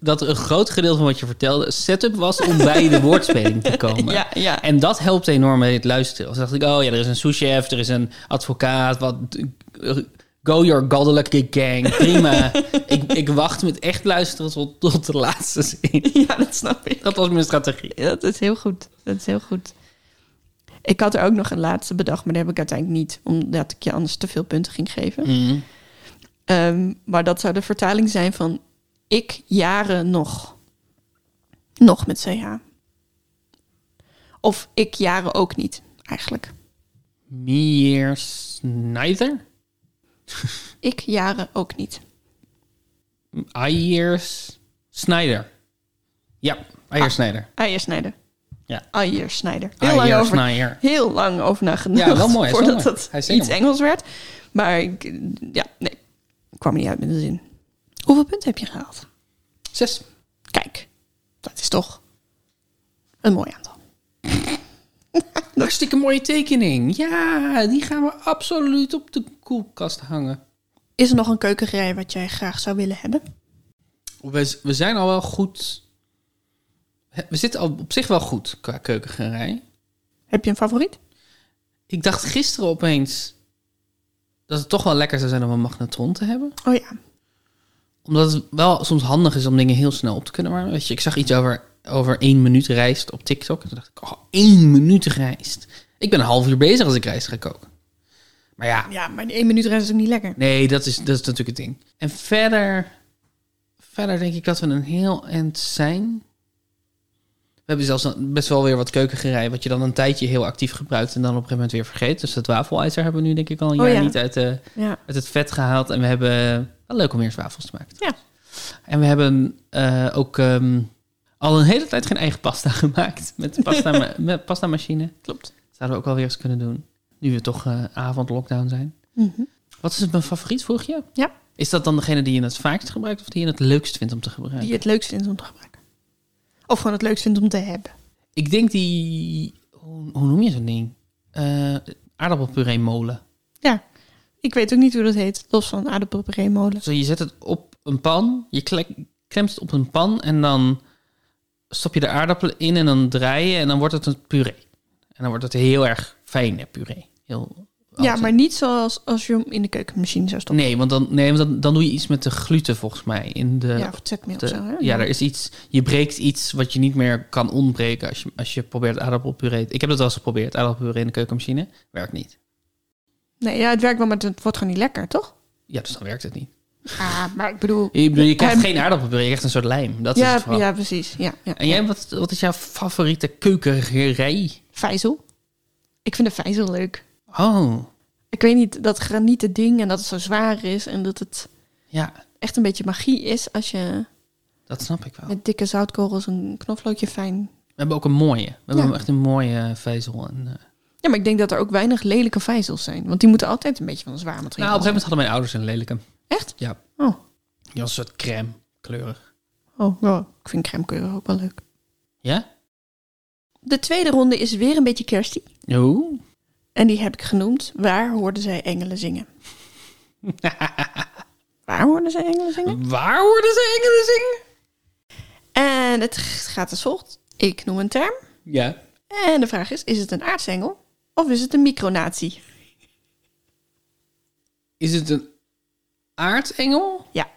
Speaker 1: dat een groot gedeelte van wat je vertelde een setup was
Speaker 2: *laughs*
Speaker 1: om bij de woordspeling te komen.
Speaker 2: Ja, ja.
Speaker 1: En dat helpt enorm bij het luisteren. Dus dacht ik, oh ja, er is een souschef, er is een advocaat, wat... Go your goddelijke gang,
Speaker 2: *laughs*
Speaker 1: prima. ik, ik wacht met echt luisteren tot, tot de laatste zin.
Speaker 2: *laughs* Ja, dat snap ik.
Speaker 1: Dat was mijn strategie.
Speaker 2: Dat is heel goed. Dat is heel goed. Ik had er ook nog een laatste bedacht, maar die heb ik uiteindelijk niet, omdat ik je anders te veel punten ging geven. Ehm, maar dat zou de vertaling zijn van ik jaren nog. Nog met CH. Of ik jaren ook niet, eigenlijk.
Speaker 1: Me years neither?
Speaker 2: Ik jaren ook niet.
Speaker 1: I years Snyder. Ja, I years Snyder.
Speaker 2: Ah, je snijden.
Speaker 1: Ja.
Speaker 2: Aier Snyder. Heel lang
Speaker 1: Aier
Speaker 2: over.
Speaker 1: Snyder.
Speaker 2: Heel lang over nagedacht.
Speaker 1: Ja, wel mooi, is wel
Speaker 2: Voordat
Speaker 1: mooi.
Speaker 2: het
Speaker 1: Hij is heel
Speaker 2: iets
Speaker 1: mooi.
Speaker 2: Engels werd. Maar ik, ja, nee. Ik kwam er niet uit met de zin. Hoeveel punten heb je gehaald?
Speaker 1: Zes.
Speaker 2: Kijk, dat is toch een mooi aantal.
Speaker 1: Hartstikke mooie tekening. Ja, die gaan we absoluut op de koelkast hangen.
Speaker 2: Is er nog een keukengerij wat jij graag zou willen hebben?
Speaker 1: We, we zijn al wel goed. We zitten al op zich wel goed qua keukengerij.
Speaker 2: Heb je een favoriet?
Speaker 1: Ik dacht gisteren opeens dat het toch wel lekker zou zijn om een magnetron te hebben.
Speaker 2: Oh ja.
Speaker 1: Omdat het wel soms handig is om dingen heel snel op te kunnen warmen. Weet je, ik zag iets over, over één minuut rijst op TikTok. En toen dacht ik, oh, één minuut rijst. Ik ben een half uur bezig als ik rijst ga koken. Maar ja,
Speaker 2: Ja, maar die één minuut rest is ook niet lekker.
Speaker 1: nee, dat is, dat is natuurlijk het ding. En verder, verder denk ik dat we een heel eind zijn. We hebben zelfs een- best wel weer wat keukengerij, wat je dan een tijdje heel actief gebruikt en dan op een gegeven moment weer vergeet. Dus dat wafelijzer hebben we nu denk ik al een
Speaker 2: Oh
Speaker 1: jaar
Speaker 2: ja.
Speaker 1: niet uit de,
Speaker 2: Ja.
Speaker 1: uit het vet gehaald. En we hebben... Wel leuk om eerst wafels te maken.
Speaker 2: Ja.
Speaker 1: En we hebben eh, ook ehm, al een hele tijd geen eigen pasta *laughs* gemaakt. Met de pasta,
Speaker 2: *laughs*
Speaker 1: ma- met pastamachine.
Speaker 2: Klopt.
Speaker 1: Zouden we ook wel weer eens kunnen doen. Nu we toch eh avondlockdown zijn.
Speaker 2: Mhm.
Speaker 1: Wat is het mijn favoriet, vroeg je?
Speaker 2: Ja.
Speaker 1: Is dat dan degene die je het vaakst gebruikt of die je het leukst vindt om te gebruiken?
Speaker 2: Die je het leukst vindt om te gebruiken. Of gewoon het leukst vindt om te hebben.
Speaker 1: Ik denk die... Hoe, hoe noem je zo'n ding? Eh aardappelpuree molen.
Speaker 2: Ja. Ik weet ook niet hoe dat heet. Los van aardappelpuree-molen.
Speaker 1: Zo, je zet het op een pan, je kle- klemt het op een pan en dan stop je de aardappelen in en dan draai je en dan wordt het een puree. En dan wordt het heel erg fijne puree. Heel
Speaker 2: Ja, maar niet zoals als je hem in de keukenmachine zou stoppen.
Speaker 1: Nee, want, dan, nee, want dan, dan doe je iets met de gluten volgens mij. In de,
Speaker 2: Ja, of het zetmeel
Speaker 1: de-
Speaker 2: of zo. Hè?
Speaker 1: ja, er is iets. Je breekt iets wat je niet meer kan ontbreken als je, als je probeert aardappelpuree. Ik heb dat wel eens geprobeerd, aardappelpuree in de keukenmachine. Werkt niet.
Speaker 2: Nee, ja, het werkt wel, maar het wordt gewoon niet lekker, toch?
Speaker 1: Ja, dus dan werkt het niet.
Speaker 2: Ah, maar ik bedoel...
Speaker 1: Je, je krijgt
Speaker 2: Hij-
Speaker 1: geen aardappelpuree, je krijgt een soort lijm. Dat is
Speaker 2: ja,
Speaker 1: het vooral.
Speaker 2: ja, precies. Ja, ja.
Speaker 1: En jij, wat, wat is jouw favoriete keukengerij?
Speaker 2: Vijzel. Ik vind de vijzel leuk.
Speaker 1: Oh,
Speaker 2: Ik weet niet, dat granieten ding en dat het zo zwaar is... en dat het
Speaker 1: ja,
Speaker 2: echt een beetje magie is als je
Speaker 1: dat snap ik wel.
Speaker 2: met dikke zoutkorrels een knoflookje fijn...
Speaker 1: We hebben ook een mooie. We hebben
Speaker 2: Ja.
Speaker 1: echt een mooie vezel. En, eh, nou, op
Speaker 2: Ja, maar ik denk dat er ook weinig lelijke vijzels zijn. Want die moeten altijd een beetje van een zwaar
Speaker 1: Nou, een
Speaker 2: materiaal
Speaker 1: gegeven moment hadden mijn ouders een lelijke.
Speaker 2: zijn. Echt?
Speaker 1: Ja,
Speaker 2: Oh,
Speaker 1: die was een soort crème, kleurig.
Speaker 2: oh ja. ik vind crème keur ook wel leuk.
Speaker 1: Ja?
Speaker 2: De tweede ronde is weer een beetje kerstie.
Speaker 1: Oeh.
Speaker 2: En die heb ik genoemd. Waar hoorden zij engelen
Speaker 1: *laughs*
Speaker 2: zingen? Waar hoorden zij engelen zingen?
Speaker 1: Waar worden ze engelen zingen?
Speaker 2: En het g- gaat als volgt. Ik noem een term.
Speaker 1: Ja.
Speaker 2: En de vraag is, is het een aartsengel of is het een micronatie?
Speaker 1: Is het een aardengel
Speaker 2: Ja.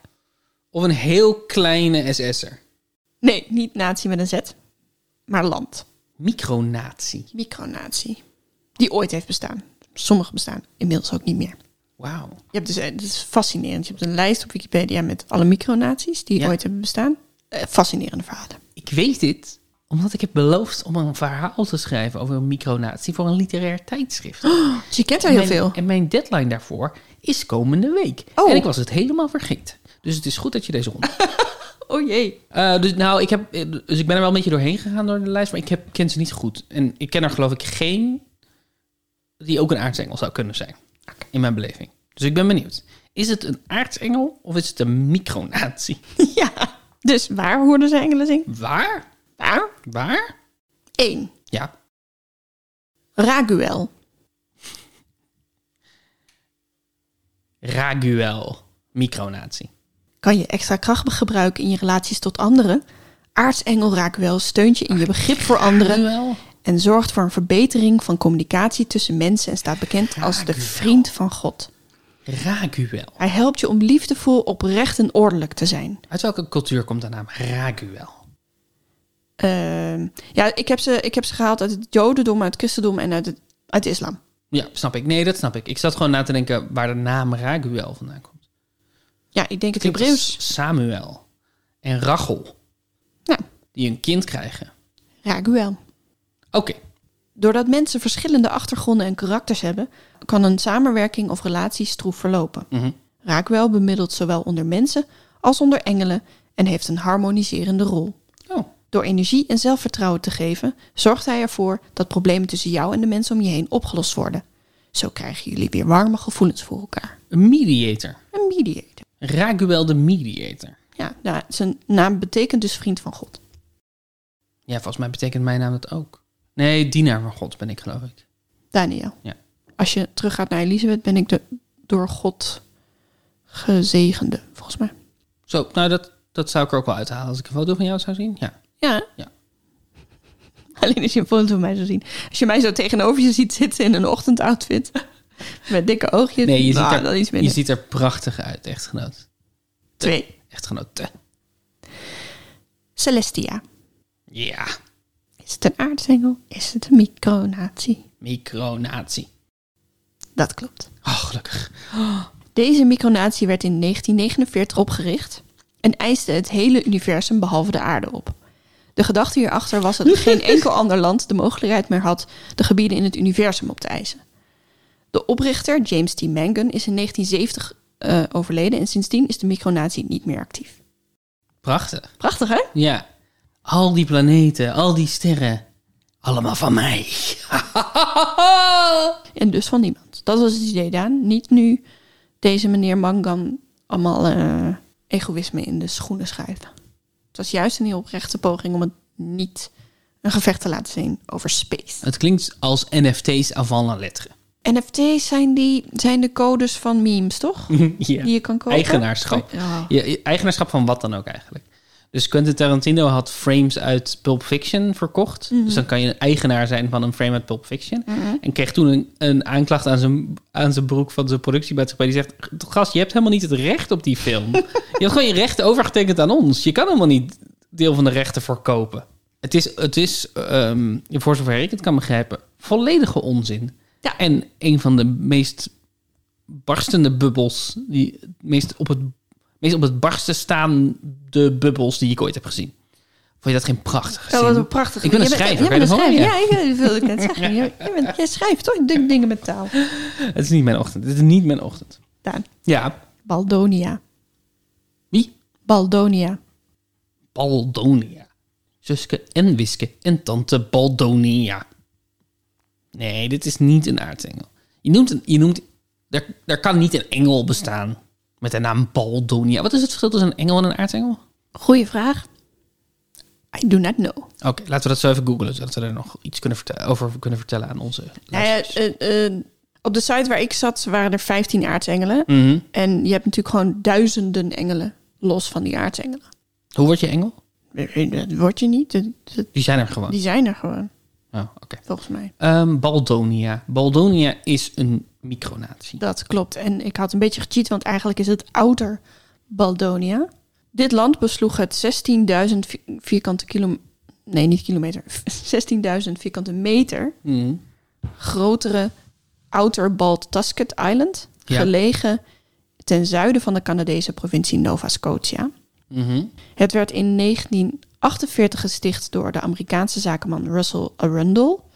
Speaker 1: of een heel kleine SS'er?
Speaker 2: Nee, niet natie met een Z, maar land.
Speaker 1: Micronatie.
Speaker 2: Micronatie. Die ooit heeft bestaan. Sommige bestaan inmiddels ook niet meer.
Speaker 1: Wauw.
Speaker 2: Je hebt dus, eh, het is fascinerend. Je hebt een lijst op Wikipedia met alle micronaties die
Speaker 1: Ja.
Speaker 2: ooit hebben bestaan. Eh, fascinerende verhalen.
Speaker 1: Ik weet dit omdat ik heb beloofd om een verhaal te schrijven over een micronatie voor een literair tijdschrift.
Speaker 2: Dus je kent er heel
Speaker 1: mijn-
Speaker 2: veel.
Speaker 1: En mijn deadline daarvoor is komende week.
Speaker 2: Oh.
Speaker 1: En ik was het helemaal vergeten. Dus het is goed dat je deze ronde.
Speaker 2: *laughs* Oh jee.
Speaker 1: Eh, dus, nou, ik heb, dus ik ben er wel een beetje doorheen gegaan door de lijst, maar ik heb, ken ze niet goed. En ik ken er geloof ik geen die ook een aartsengel zou kunnen zijn. In mijn beleving. Dus ik ben benieuwd. Is het een aartsengel of is het een micronatie?
Speaker 2: *laughs* Ja. Dus waar hoorden ze engelen zingen?
Speaker 1: Waar?
Speaker 2: Waar?
Speaker 1: Waar?
Speaker 2: 1.
Speaker 1: Ja.
Speaker 2: Raguel.
Speaker 1: Raguel. Micronatie.
Speaker 2: Kan je extra kracht gebruiken in je relaties tot anderen? Aartsengel Raguel steunt je in je begrip voor anderen
Speaker 1: Raguel.
Speaker 2: en zorgt voor een verbetering van communicatie tussen mensen en staat bekend als de vriend van God.
Speaker 1: Raguel.
Speaker 2: Hij helpt je om liefdevol, oprecht en ordelijk te zijn.
Speaker 1: Uit welke cultuur komt de naam Raguel?
Speaker 2: Ehm, ja, ik heb, ze, ik heb ze gehaald uit het Jodendom, uit het Christendom en uit, het, uit de islam.
Speaker 1: Ja, snap ik. Nee, dat snap ik. Ik zat gewoon na te denken waar de naam Raguel vandaan komt.
Speaker 2: Ja, ik denk het
Speaker 1: Klinkt als
Speaker 2: Hebreeuws.
Speaker 1: Samuel en Rachel,
Speaker 2: Nou,
Speaker 1: die een kind krijgen.
Speaker 2: Raguel.
Speaker 1: Oké,
Speaker 2: Doordat mensen verschillende achtergronden en karakters hebben, kan een samenwerking of relatie stroef verlopen. Raakwel bemiddelt zowel onder mensen als onder engelen en heeft een harmoniserende rol.
Speaker 1: oh,
Speaker 2: Door energie en zelfvertrouwen te geven, zorgt hij ervoor dat problemen tussen jou en de mensen om je heen opgelost worden. Zo krijgen jullie weer warme gevoelens voor elkaar.
Speaker 1: Een mediator.
Speaker 2: Een mediator.
Speaker 1: Raguel de mediator.
Speaker 2: Ja, nou, zijn naam betekent dus vriend van God.
Speaker 1: Ja, volgens mij betekent mijn naam dat ook. Nee, dienaar van God ben ik geloof ik.
Speaker 2: Daniel.
Speaker 1: Ja.
Speaker 2: Als je teruggaat naar Elisabeth, ben ik de door God gezegende, volgens mij.
Speaker 1: Zo, nou dat, dat zou ik er ook wel uithalen als ik een foto van jou zou zien. Ja.
Speaker 2: Ja.
Speaker 1: Ja.
Speaker 2: *laughs* Alleen als je een foto van mij zou zien. Als je mij zo tegenover je ziet zitten in een ochtendoutfit. *laughs* Met dikke oogjes.
Speaker 1: Nee, je ziet,
Speaker 2: nou, dan
Speaker 1: er,
Speaker 2: iets
Speaker 1: je
Speaker 2: minder.
Speaker 1: ziet er prachtig uit, echtgenoot.
Speaker 2: Twee.
Speaker 1: Echtgenoot. te.
Speaker 2: Celestia.
Speaker 1: Ja,
Speaker 2: Is het een aardsengel? Is het een micronatie?
Speaker 1: micronatie.
Speaker 2: Dat klopt.
Speaker 1: Oh, gelukkig.
Speaker 2: Deze micronatie werd in 1949 opgericht en eiste het hele universum behalve de aarde op. De gedachte hierachter was dat geen enkel ander land de mogelijkheid meer had de gebieden in het universum op te eisen. De oprichter, James T. Mangan, is in 1970 eh, overleden en sindsdien is de micronatie niet meer actief.
Speaker 1: Prachtig.
Speaker 2: Prachtig, hè?
Speaker 1: Ja. Al die planeten, al die sterren. Allemaal van mij.
Speaker 2: En dus van niemand. Dat was het idee, Daan. Niet nu deze meneer Mangan allemaal eh, egoïsme in de schoenen schuiven. Het was juist een heel oprechte poging om het niet een gevecht te laten zien over space.
Speaker 1: Het klinkt als NFT's avant la lettre.
Speaker 2: NFT's zijn, die, zijn de codes van memes,
Speaker 1: *laughs*
Speaker 2: toch?
Speaker 1: ja.
Speaker 2: Die je kan kopen. Oh,
Speaker 1: Eigenaarschap.
Speaker 2: Ja.
Speaker 1: Je- je- eigenaarschap van wat dan ook eigenlijk. Dus Quentin Tarantino had frames uit Pulp Fiction verkocht. Dus dan kan je een eigenaar zijn van een frame uit Pulp Fiction. En kreeg toen een, een aanklacht aan zijn, aan zijn broek van zijn productiemaatschappij. Die zegt, gast, je hebt helemaal niet het recht op die film. je hebt gewoon je rechten overgetekend aan ons. Je kan helemaal niet deel van de rechten verkopen. Het is, het is ehm, voor zover ik het kan begrijpen, volledige onzin.
Speaker 2: Ja.
Speaker 1: En een van de meest barstende bubbels, die het meest op het, meest op het barsten staande bubbels die ik ooit heb gezien. Vond je dat geen prachtige
Speaker 2: Dat
Speaker 1: zin?
Speaker 2: was een prachtige...
Speaker 1: Ik ben een
Speaker 2: Jij bent-
Speaker 1: schrijver,
Speaker 2: jij bent
Speaker 1: kan
Speaker 2: een
Speaker 1: je dat
Speaker 2: schrijver. Ja, ik- dat wilde ik net zeggen. Jij, jij bent- jij schrijft toch Doe dingen met taal.
Speaker 1: Het is niet mijn ochtend. Het is niet mijn ochtend.
Speaker 2: Daan,
Speaker 1: Ja.
Speaker 2: Baldonia.
Speaker 1: Wie?
Speaker 2: Baldonia.
Speaker 1: Baldonia. Zuske en Wiske en tante Baldonia. Nee, dit is niet een aartsengel. Je noemt een... Je noemt, er, er kan niet een engel bestaan met de naam Baldonia. Wat is het verschil tussen een engel en een aartsengel?
Speaker 2: Goeie vraag. I do not know.
Speaker 1: Oké, laten we dat zo even googlen, zodat we er nog iets kunnen vertel- over kunnen vertellen aan onze
Speaker 2: Nou ja,
Speaker 1: luisteraars.
Speaker 2: eh, eh, op de site waar ik zat waren er 15 aartsengelen. En je hebt natuurlijk gewoon duizenden engelen los van die aartsengelen. Eh,
Speaker 1: Hoe word je engel?
Speaker 2: Dat word je niet. Dat- dat-
Speaker 1: Die zijn er gewoon.
Speaker 2: Die zijn er gewoon,
Speaker 1: Oh, oké.
Speaker 2: volgens mij.
Speaker 1: Ehm, Baldonia. Baldonia is een micronatie.
Speaker 2: Dat klopt. En ik had een beetje gecheat, want eigenlijk is het ouder Baldonia. Dit land besloeg het 16.000 vi- vierkante kilometer... Nee, niet kilometer. *laughs* 16.000 vierkante meter grotere Outer Bald Tusket Island,
Speaker 1: Ja.
Speaker 2: gelegen ten zuiden van de Canadese provincie Nova Scotia.
Speaker 1: Mhm.
Speaker 2: Het werd in 1948 gesticht door de Amerikaanse zakenman Russell Arundel.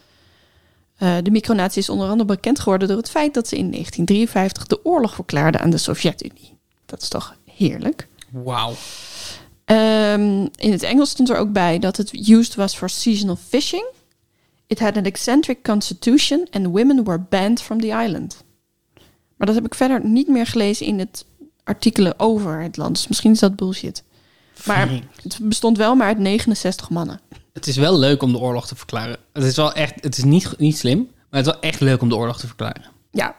Speaker 2: Eh, de micronatie is onder andere bekend geworden door het feit dat ze in 1953 de oorlog verklaarde aan de Sovjet-Unie. Dat is toch heerlijk?
Speaker 1: Wauw.
Speaker 2: Ehm, in het Engels stond er ook bij dat het used was for seasonal fishing. It had an eccentric constitution and women were banned from the island. Maar dat heb ik verder niet meer gelezen in het artikelen over het land. Dus misschien is dat bullshit. Maar
Speaker 1: Vreemd.
Speaker 2: het bestond wel maar uit 69 mannen.
Speaker 1: Het is wel leuk om de oorlog te verklaren. Het is wel echt, het is niet, niet slim, maar het is wel echt leuk om de oorlog te verklaren.
Speaker 2: Ja.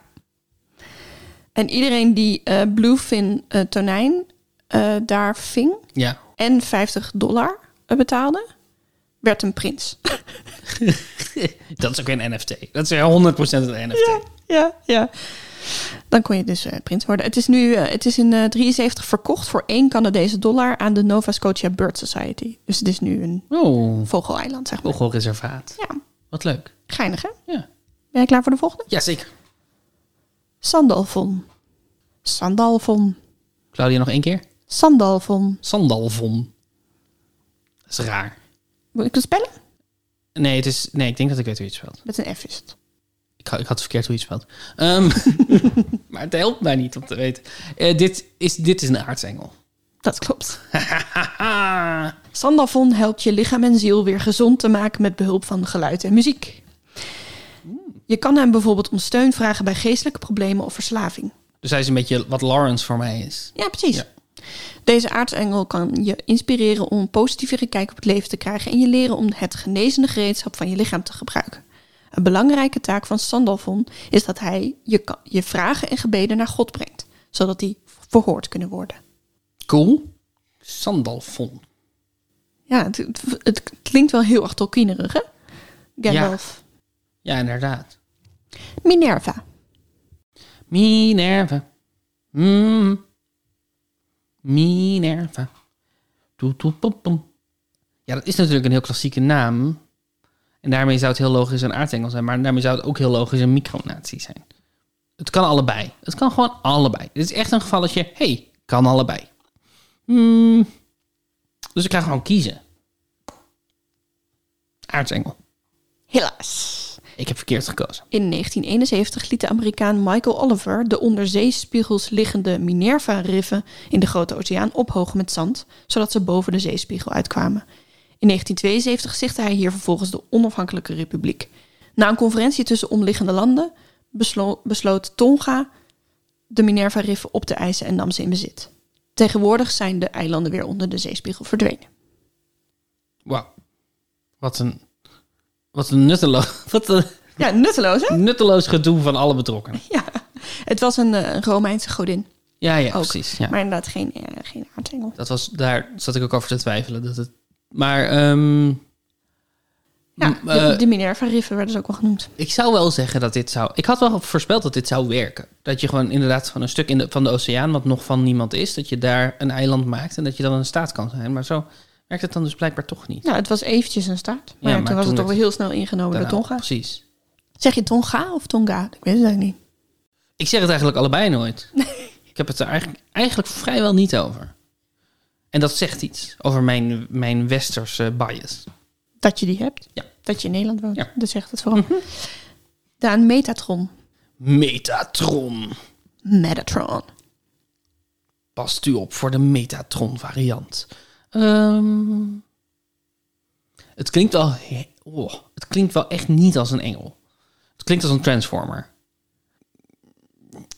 Speaker 2: En iedereen die eh, bluefin eh, tonijn eh, daar ving
Speaker 1: Ja. *laughs*
Speaker 2: en 50 dollar eh, betaalde, werd een prins.
Speaker 1: Dat is ook een NFT. Dat is 100% een NFT.
Speaker 2: Ja, ja, ja. Dan kon je dus eh, prins worden. Het is nu eh, het is in eh, 73 verkocht voor 1 Canadese dollar aan de Nova Scotia Bird Society. Dus het is nu een
Speaker 1: Oh,
Speaker 2: vogeleiland, zeg maar.
Speaker 1: vogelreservaat.
Speaker 2: Ja,
Speaker 1: Wat leuk.
Speaker 2: geinig hè?
Speaker 1: Ja.
Speaker 2: Ben je klaar voor de volgende?
Speaker 1: Jazeker.
Speaker 2: Sandalfon. Sandalfon.
Speaker 1: Claudia nog één keer.
Speaker 2: Sandalfon.
Speaker 1: Sandalvon. Dat is raar.
Speaker 2: Moet ik het spellen?
Speaker 1: Nee, het is, nee, ik denk dat ik weet hoe je het spelt.
Speaker 2: Met een F is het.
Speaker 1: Ik, ha- ik had verkeerd hoe je het spelt. Ehm, *laughs* maar het helpt mij niet om te weten. Eh, dit, is, dit is een aartsengel.
Speaker 2: Dat klopt.
Speaker 1: Haha.
Speaker 2: Sandalfon helpt je lichaam en ziel weer gezond te maken met behulp van geluid en muziek. Je kan hem bijvoorbeeld om steun vragen bij geestelijke problemen of verslaving.
Speaker 1: Dus hij is een beetje wat Lawrence voor mij is.
Speaker 2: Ja, precies. Deze aartsengel kan je inspireren om een positievere kijk op het leven te krijgen en je leren om het genezende gereedschap van je lichaam te gebruiken. Een belangrijke taak van Sandalfon is dat hij je, ka- je vragen en gebeden naar God brengt, zodat die verhoord kunnen worden.
Speaker 1: Cool. Sandalfon.
Speaker 2: Ja, het, het- het klinkt wel heel erg Tolkienerig, hè? Gandalf.
Speaker 1: Ja, inderdaad.
Speaker 2: Minerva.
Speaker 1: Minerva. Mm. Minerva. Doe, doe, pom, pom. Ja, dat is natuurlijk een heel klassieke naam. En daarmee zou het heel logisch een aardengel zijn. Maar daarmee zou het ook heel logisch een micronatie zijn. Het kan allebei. Het kan gewoon allebei. Dit is echt een gevalletje. hey, kan allebei. Mm. Dus ik ga gewoon kiezen. Aardsengel.
Speaker 2: Helaas.
Speaker 1: Ik heb verkeerd gekozen.
Speaker 2: In 1971 liet de Amerikaan Michael Oliver de onder zeespiegels liggende Minerva-riffen in de Grote Oceaan ophogen met zand, zodat ze boven de zeespiegel uitkwamen. In 1972 stichtte hij hier vervolgens de Onafhankelijke Republiek. Na een conferentie tussen omliggende landen beslo- besloot Tonga de Minerva-riffen op te eisen en nam ze in bezit. Tegenwoordig zijn de eilanden weer onder de zeespiegel verdwenen.
Speaker 1: Wauw. Wat een... Wat een nutteloos... *laughs* Wat een...
Speaker 2: Ja, nutteloos hè?
Speaker 1: nutteloos gedoe van alle betrokkenen.
Speaker 2: Ja, het was een eh, Romeinse godin,
Speaker 1: Ja, ja,
Speaker 2: Ook.
Speaker 1: precies. Ja.
Speaker 2: maar inderdaad geen, eh, geen aardengel.
Speaker 1: Dat was, daar zat ik ook over te twijfelen. Dat het, maar ehm,
Speaker 2: Ja,
Speaker 1: Mm,
Speaker 2: de,
Speaker 1: eh,
Speaker 2: de Minerva-riffen werden ze ook wel genoemd.
Speaker 1: ik zou wel zeggen dat dit zou... Ik had wel voorspeld dat dit zou werken. Dat je gewoon inderdaad van een stuk in de, van de oceaan... wat nog van niemand is, dat je daar een eiland maakt... en dat je dan een staat kan zijn. Maar zo werkt het dan dus blijkbaar toch niet.
Speaker 2: Nou, het was eventjes een start. Maar,
Speaker 1: Ja,
Speaker 2: ja,
Speaker 1: maar
Speaker 2: toen was
Speaker 1: toen
Speaker 2: het toch
Speaker 1: werd
Speaker 2: wel heel snel ingenomen door
Speaker 1: Daarna-
Speaker 2: Tonga.
Speaker 1: Precies.
Speaker 2: Zeg je Tonga of Tonga? Ik weet het eigenlijk niet.
Speaker 1: Ik zeg het eigenlijk allebei nooit. ik heb het er eigenlijk, eigenlijk vrijwel niet over. En dat zegt iets over mijn, mijn westerse bias.
Speaker 2: Dat je die hebt.
Speaker 1: Ja.
Speaker 2: Dat je in Nederland woont.
Speaker 1: Ja. Mhm.
Speaker 2: Dat zegt het vooral. Daan Metatron.
Speaker 1: Metatron.
Speaker 2: Metatron.
Speaker 1: past u op voor de Metatron variant. Ehm, het klinkt al. he- oh, het klinkt wel echt niet als een engel. Het klinkt als een transformer.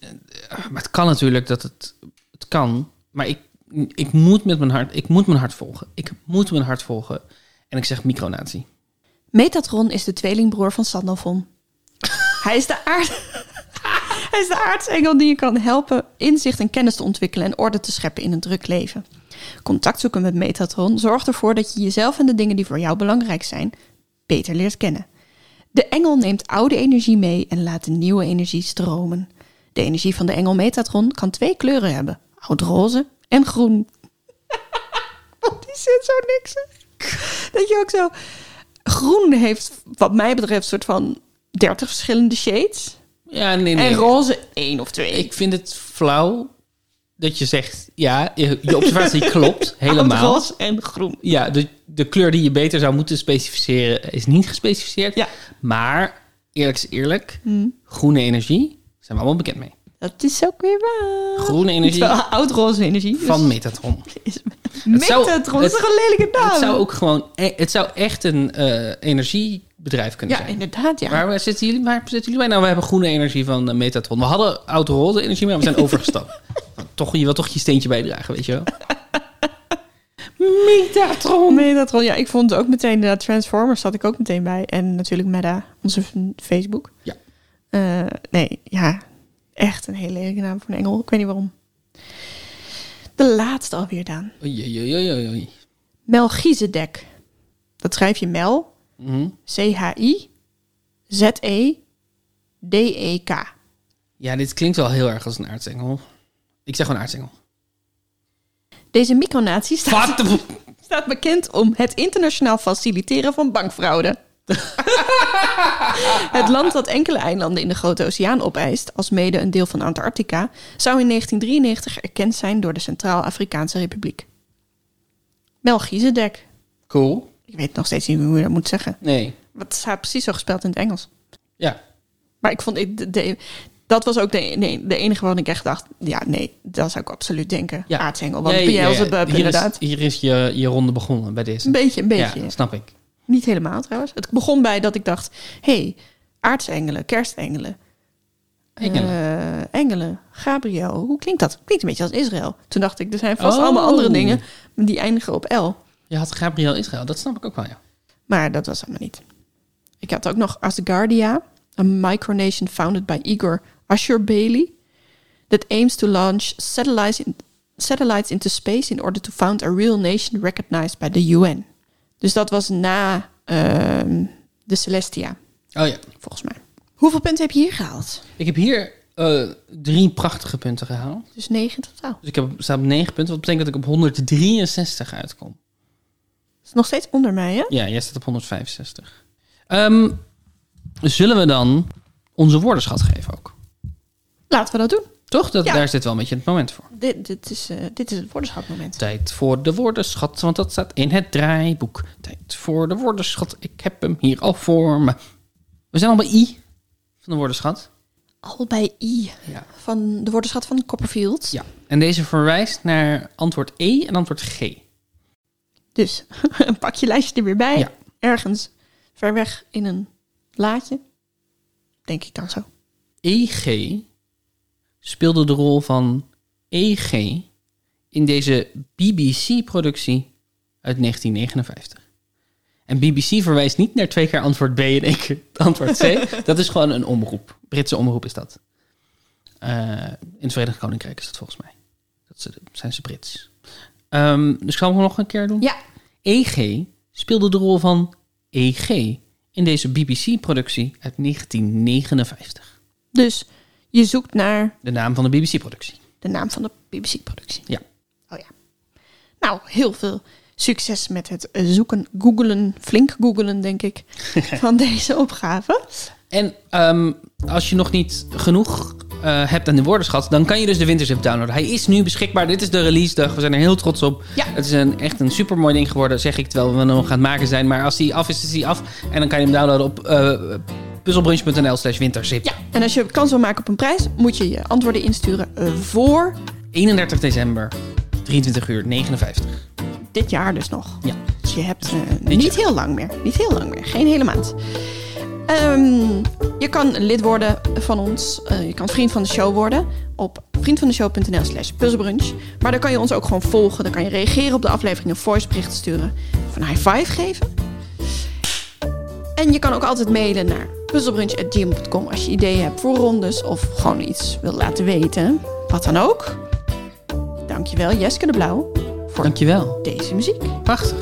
Speaker 1: Eh, Maar het kan natuurlijk dat het. Het kan. Maar ik, ik moet met mijn hart. Ik moet mijn hart volgen. Ik moet mijn hart volgen. En ik zeg micronatie.
Speaker 2: Metatron is de tweelingbroer van Sandalfon. Hij is de aard... *laughs* Hij is de aartsengel die je kan helpen inzicht en kennis te ontwikkelen en orde te scheppen in een druk leven. Contact zoeken met Metatron zorgt ervoor dat je jezelf en de dingen die voor jou belangrijk zijn beter leert kennen. De engel neemt oude energie mee en laat de nieuwe energie stromen. De energie van de engel Metatron kan twee kleuren hebben: oud-roze en groen. *laughs* Want die zit zo niks. Dat je ook zo. Groen heeft, wat mij betreft, soort van 30 verschillende shades.
Speaker 1: Ja, nee, nee.
Speaker 2: En roze één of twee.
Speaker 1: Ik vind het flauw dat je zegt. Ja, je, je observatie *laughs* klopt. Helemaal.
Speaker 2: Oud-roze en groen.
Speaker 1: Ja, de, de kleur die je beter zou moeten specificeren is niet gespecificeerd.
Speaker 2: Ja. Hmm.
Speaker 1: Maar eerlijk is eerlijk, groene energie zijn we allemaal bekend mee.
Speaker 2: Dat is ook weer waar.
Speaker 1: Groene energie
Speaker 2: Terwijl Oud-roze energie. dus
Speaker 1: van Metatron.
Speaker 2: is
Speaker 1: Het zou-
Speaker 2: Metatron dat is
Speaker 1: het-
Speaker 2: toch een lelijke naam?
Speaker 1: Het zou ook gewoon, eh, het zou echt een eh, energiebedrijf kunnen
Speaker 2: ja,
Speaker 1: zijn.
Speaker 2: inderdaad, ja.
Speaker 1: Waar zitten, jullie, waar zitten jullie bij? Nou, we hebben groene energie van eh, Metatron. We hadden oud-roze energie, maar we
Speaker 2: *laughs*
Speaker 1: zijn overgestapt. Nou, toch, je wil toch je steentje bijdragen, weet je wel?
Speaker 2: Metatron. Metatron, ja. Ik vond het ook meteen, inderdaad, Transformers zat ik ook meteen bij. En natuurlijk Meta, onze f- Facebook.
Speaker 1: Ja.
Speaker 2: Eh, nee, ja. Echt een hele lelijke naam voor een engel. Ik weet niet waarom. De laatste alweer, Daan.
Speaker 1: Oei, oei, oei, oei, oei.
Speaker 2: Melchizedek. Dat schrijf je Mel.
Speaker 1: Mhm.
Speaker 2: C-H-I-Z-E-D-E-K. E
Speaker 1: Ja, dit klinkt wel heel erg als een aartsengel. Ik zeg gewoon aartsengel.
Speaker 2: Deze micronatie staat,
Speaker 1: What the f-
Speaker 2: staat bekend om het internationaal faciliteren van bankfraude. het land dat enkele eilanden in de Grote Oceaan opeist, als mede een deel van Antarctica, zou in 1993 erkend zijn door de Centraal-Afrikaanse Republiek. Melchizedek.
Speaker 1: Cool.
Speaker 2: Ik weet nog steeds niet hoe je dat moet zeggen.
Speaker 1: Nee.
Speaker 2: Wat staat precies zo gespeld in het Engels?
Speaker 1: Ja.
Speaker 2: Maar ik vond ik, de, de- dat was ook de, nee, de enige waarvan ik echt dacht... Ja, nee, dat zou ik absoluut denken.
Speaker 1: Ja.
Speaker 2: Aardsengel. Want
Speaker 1: Nee,
Speaker 2: PL
Speaker 1: ja, ja.
Speaker 2: zit bup,
Speaker 1: Hier is-
Speaker 2: eh, inderdaad.
Speaker 1: Hier is je, je ronde begonnen bij deze.
Speaker 2: Een beetje, een beetje.
Speaker 1: Ja, snap ik.
Speaker 2: Niet helemaal trouwens. Het begon bij dat ik dacht... hey, aardsengelen, kerstengelen.
Speaker 1: Engelen.
Speaker 2: eh, engelen, Gabriel. Hoe klinkt dat? Klinkt een beetje als Israël. Toen dacht ik, er zijn vast
Speaker 1: Oh.
Speaker 2: allemaal andere dingen... maar die eindigen op L.
Speaker 1: Je had Gabriel Israël, dat snap ik ook wel, ja.
Speaker 2: Maar dat was allemaal niet. Ik had ook nog Asgardia, een micronation founded by Igor Ashurbailey, that aims to launch satellites, in- satellites into space in order to found a real nation recognized by the UN. Dus dat was na ehm, de Celestia,
Speaker 1: Oh ja.
Speaker 2: volgens mij. Hoeveel punten heb je hier gehaald?
Speaker 1: Ik heb hier eh, drie prachtige punten gehaald.
Speaker 2: Dus 9 in totaal.
Speaker 1: Dus ik heb, sta op negen punten, wat betekent dat ik op 163 uitkom.
Speaker 2: Dat is nog steeds onder mij, hè?
Speaker 1: Ja, jij staat op 165. Ehm, zullen we dan onze woordenschat geven ook?
Speaker 2: Laten we dat doen.
Speaker 1: Toch? Dat,
Speaker 2: Ja.
Speaker 1: Daar zit wel een beetje het moment voor.
Speaker 2: Dit, dit, is, eh, dit is het woordenschatmoment.
Speaker 1: Tijd voor de woordenschat, want dat staat in het draaiboek. Tijd voor de woordenschat, ik heb hem hier al voor me. We zijn al bij I van de woordenschat.
Speaker 2: Al bij I
Speaker 1: Ja.
Speaker 2: van de woordenschat van Copperfield.
Speaker 1: ja. En deze verwijst naar antwoord E en antwoord G.
Speaker 2: Dus *laughs* pak je lijstje er weer bij.
Speaker 1: Ja.
Speaker 2: Ergens ver weg in een laadje. Denk ik dan zo.
Speaker 1: EG E speelde de rol van EG in deze BBC-productie uit 1959. En BBC verwijst niet naar twee keer antwoord B en één keer antwoord C. dat is gewoon een omroep. Britse omroep is dat. Eh, in het Verenigd Koninkrijk is dat volgens mij. Dat ze, zijn ze Brits. Ehm, dus gaan we nog een keer doen?
Speaker 2: Ja.
Speaker 1: EG speelde de rol van EG in deze BBC-productie uit 1959.
Speaker 2: Dus je zoekt naar
Speaker 1: De naam van de BBC-productie.
Speaker 2: de naam van de BBC-productie.
Speaker 1: Ja.
Speaker 2: Oh ja. Nou, heel veel succes met het eh, zoeken, googelen, flink googelen denk *laughs* ik, van deze opgave.
Speaker 1: En ehm, als je nog niet genoeg eh, hebt aan de woordenschat, dan kan je dus de Wintership downloaden. Hij is nu beschikbaar. Dit is de release dag. We zijn er heel trots op.
Speaker 2: Ja.
Speaker 1: Het is een, echt een supermooi ding geworden, zeg ik, terwijl we hem gaan maken zijn. Maar als hij af is, is hij af. En dan kan je hem downloaden op eh puzzelbrunch.nl slash wintership.
Speaker 2: Ja. En als je kans wil maken op een prijs, moet je je antwoorden insturen eh, voor
Speaker 1: 31 december, 23 uur 59.
Speaker 2: dit jaar dus nog.
Speaker 1: Ja.
Speaker 2: Dus je hebt eh,
Speaker 1: Dit
Speaker 2: niet
Speaker 1: jaar.
Speaker 2: heel lang meer. Niet heel lang meer. Geen hele maand. Ehm, je kan lid worden van ons. Eh, je kan vriend van de show worden op vriendvandeshow.nl slash puzzelbrunch. Maar dan kan je ons ook gewoon volgen. Dan kan je reageren op de aflevering, een voicebericht sturen. Of een high five geven. En je kan ook altijd mailen naar puzzelbrunch.gmail.com als je ideeën hebt voor rondes of gewoon iets wil laten weten. Wat dan ook. Dankjewel Jeske de Blauw voor
Speaker 1: Dankjewel.
Speaker 2: deze muziek.
Speaker 1: Prachtig.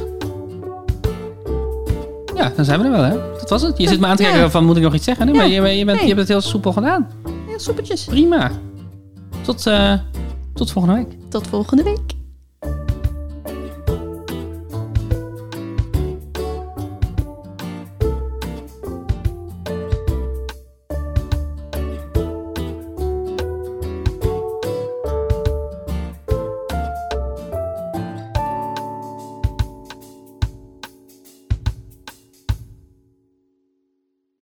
Speaker 1: Ja, dan zijn we er wel, hè? Dat was het. Je zit me aan te kijken
Speaker 2: Ja.
Speaker 1: van, moet ik nog iets zeggen? Nee,
Speaker 2: Ja.
Speaker 1: maar je, je, bent,
Speaker 2: Nee.
Speaker 1: je hebt het heel soepel gedaan.
Speaker 2: Ja, soepetjes.
Speaker 1: prima. Tot, eh, tot volgende week.
Speaker 2: Tot volgende week.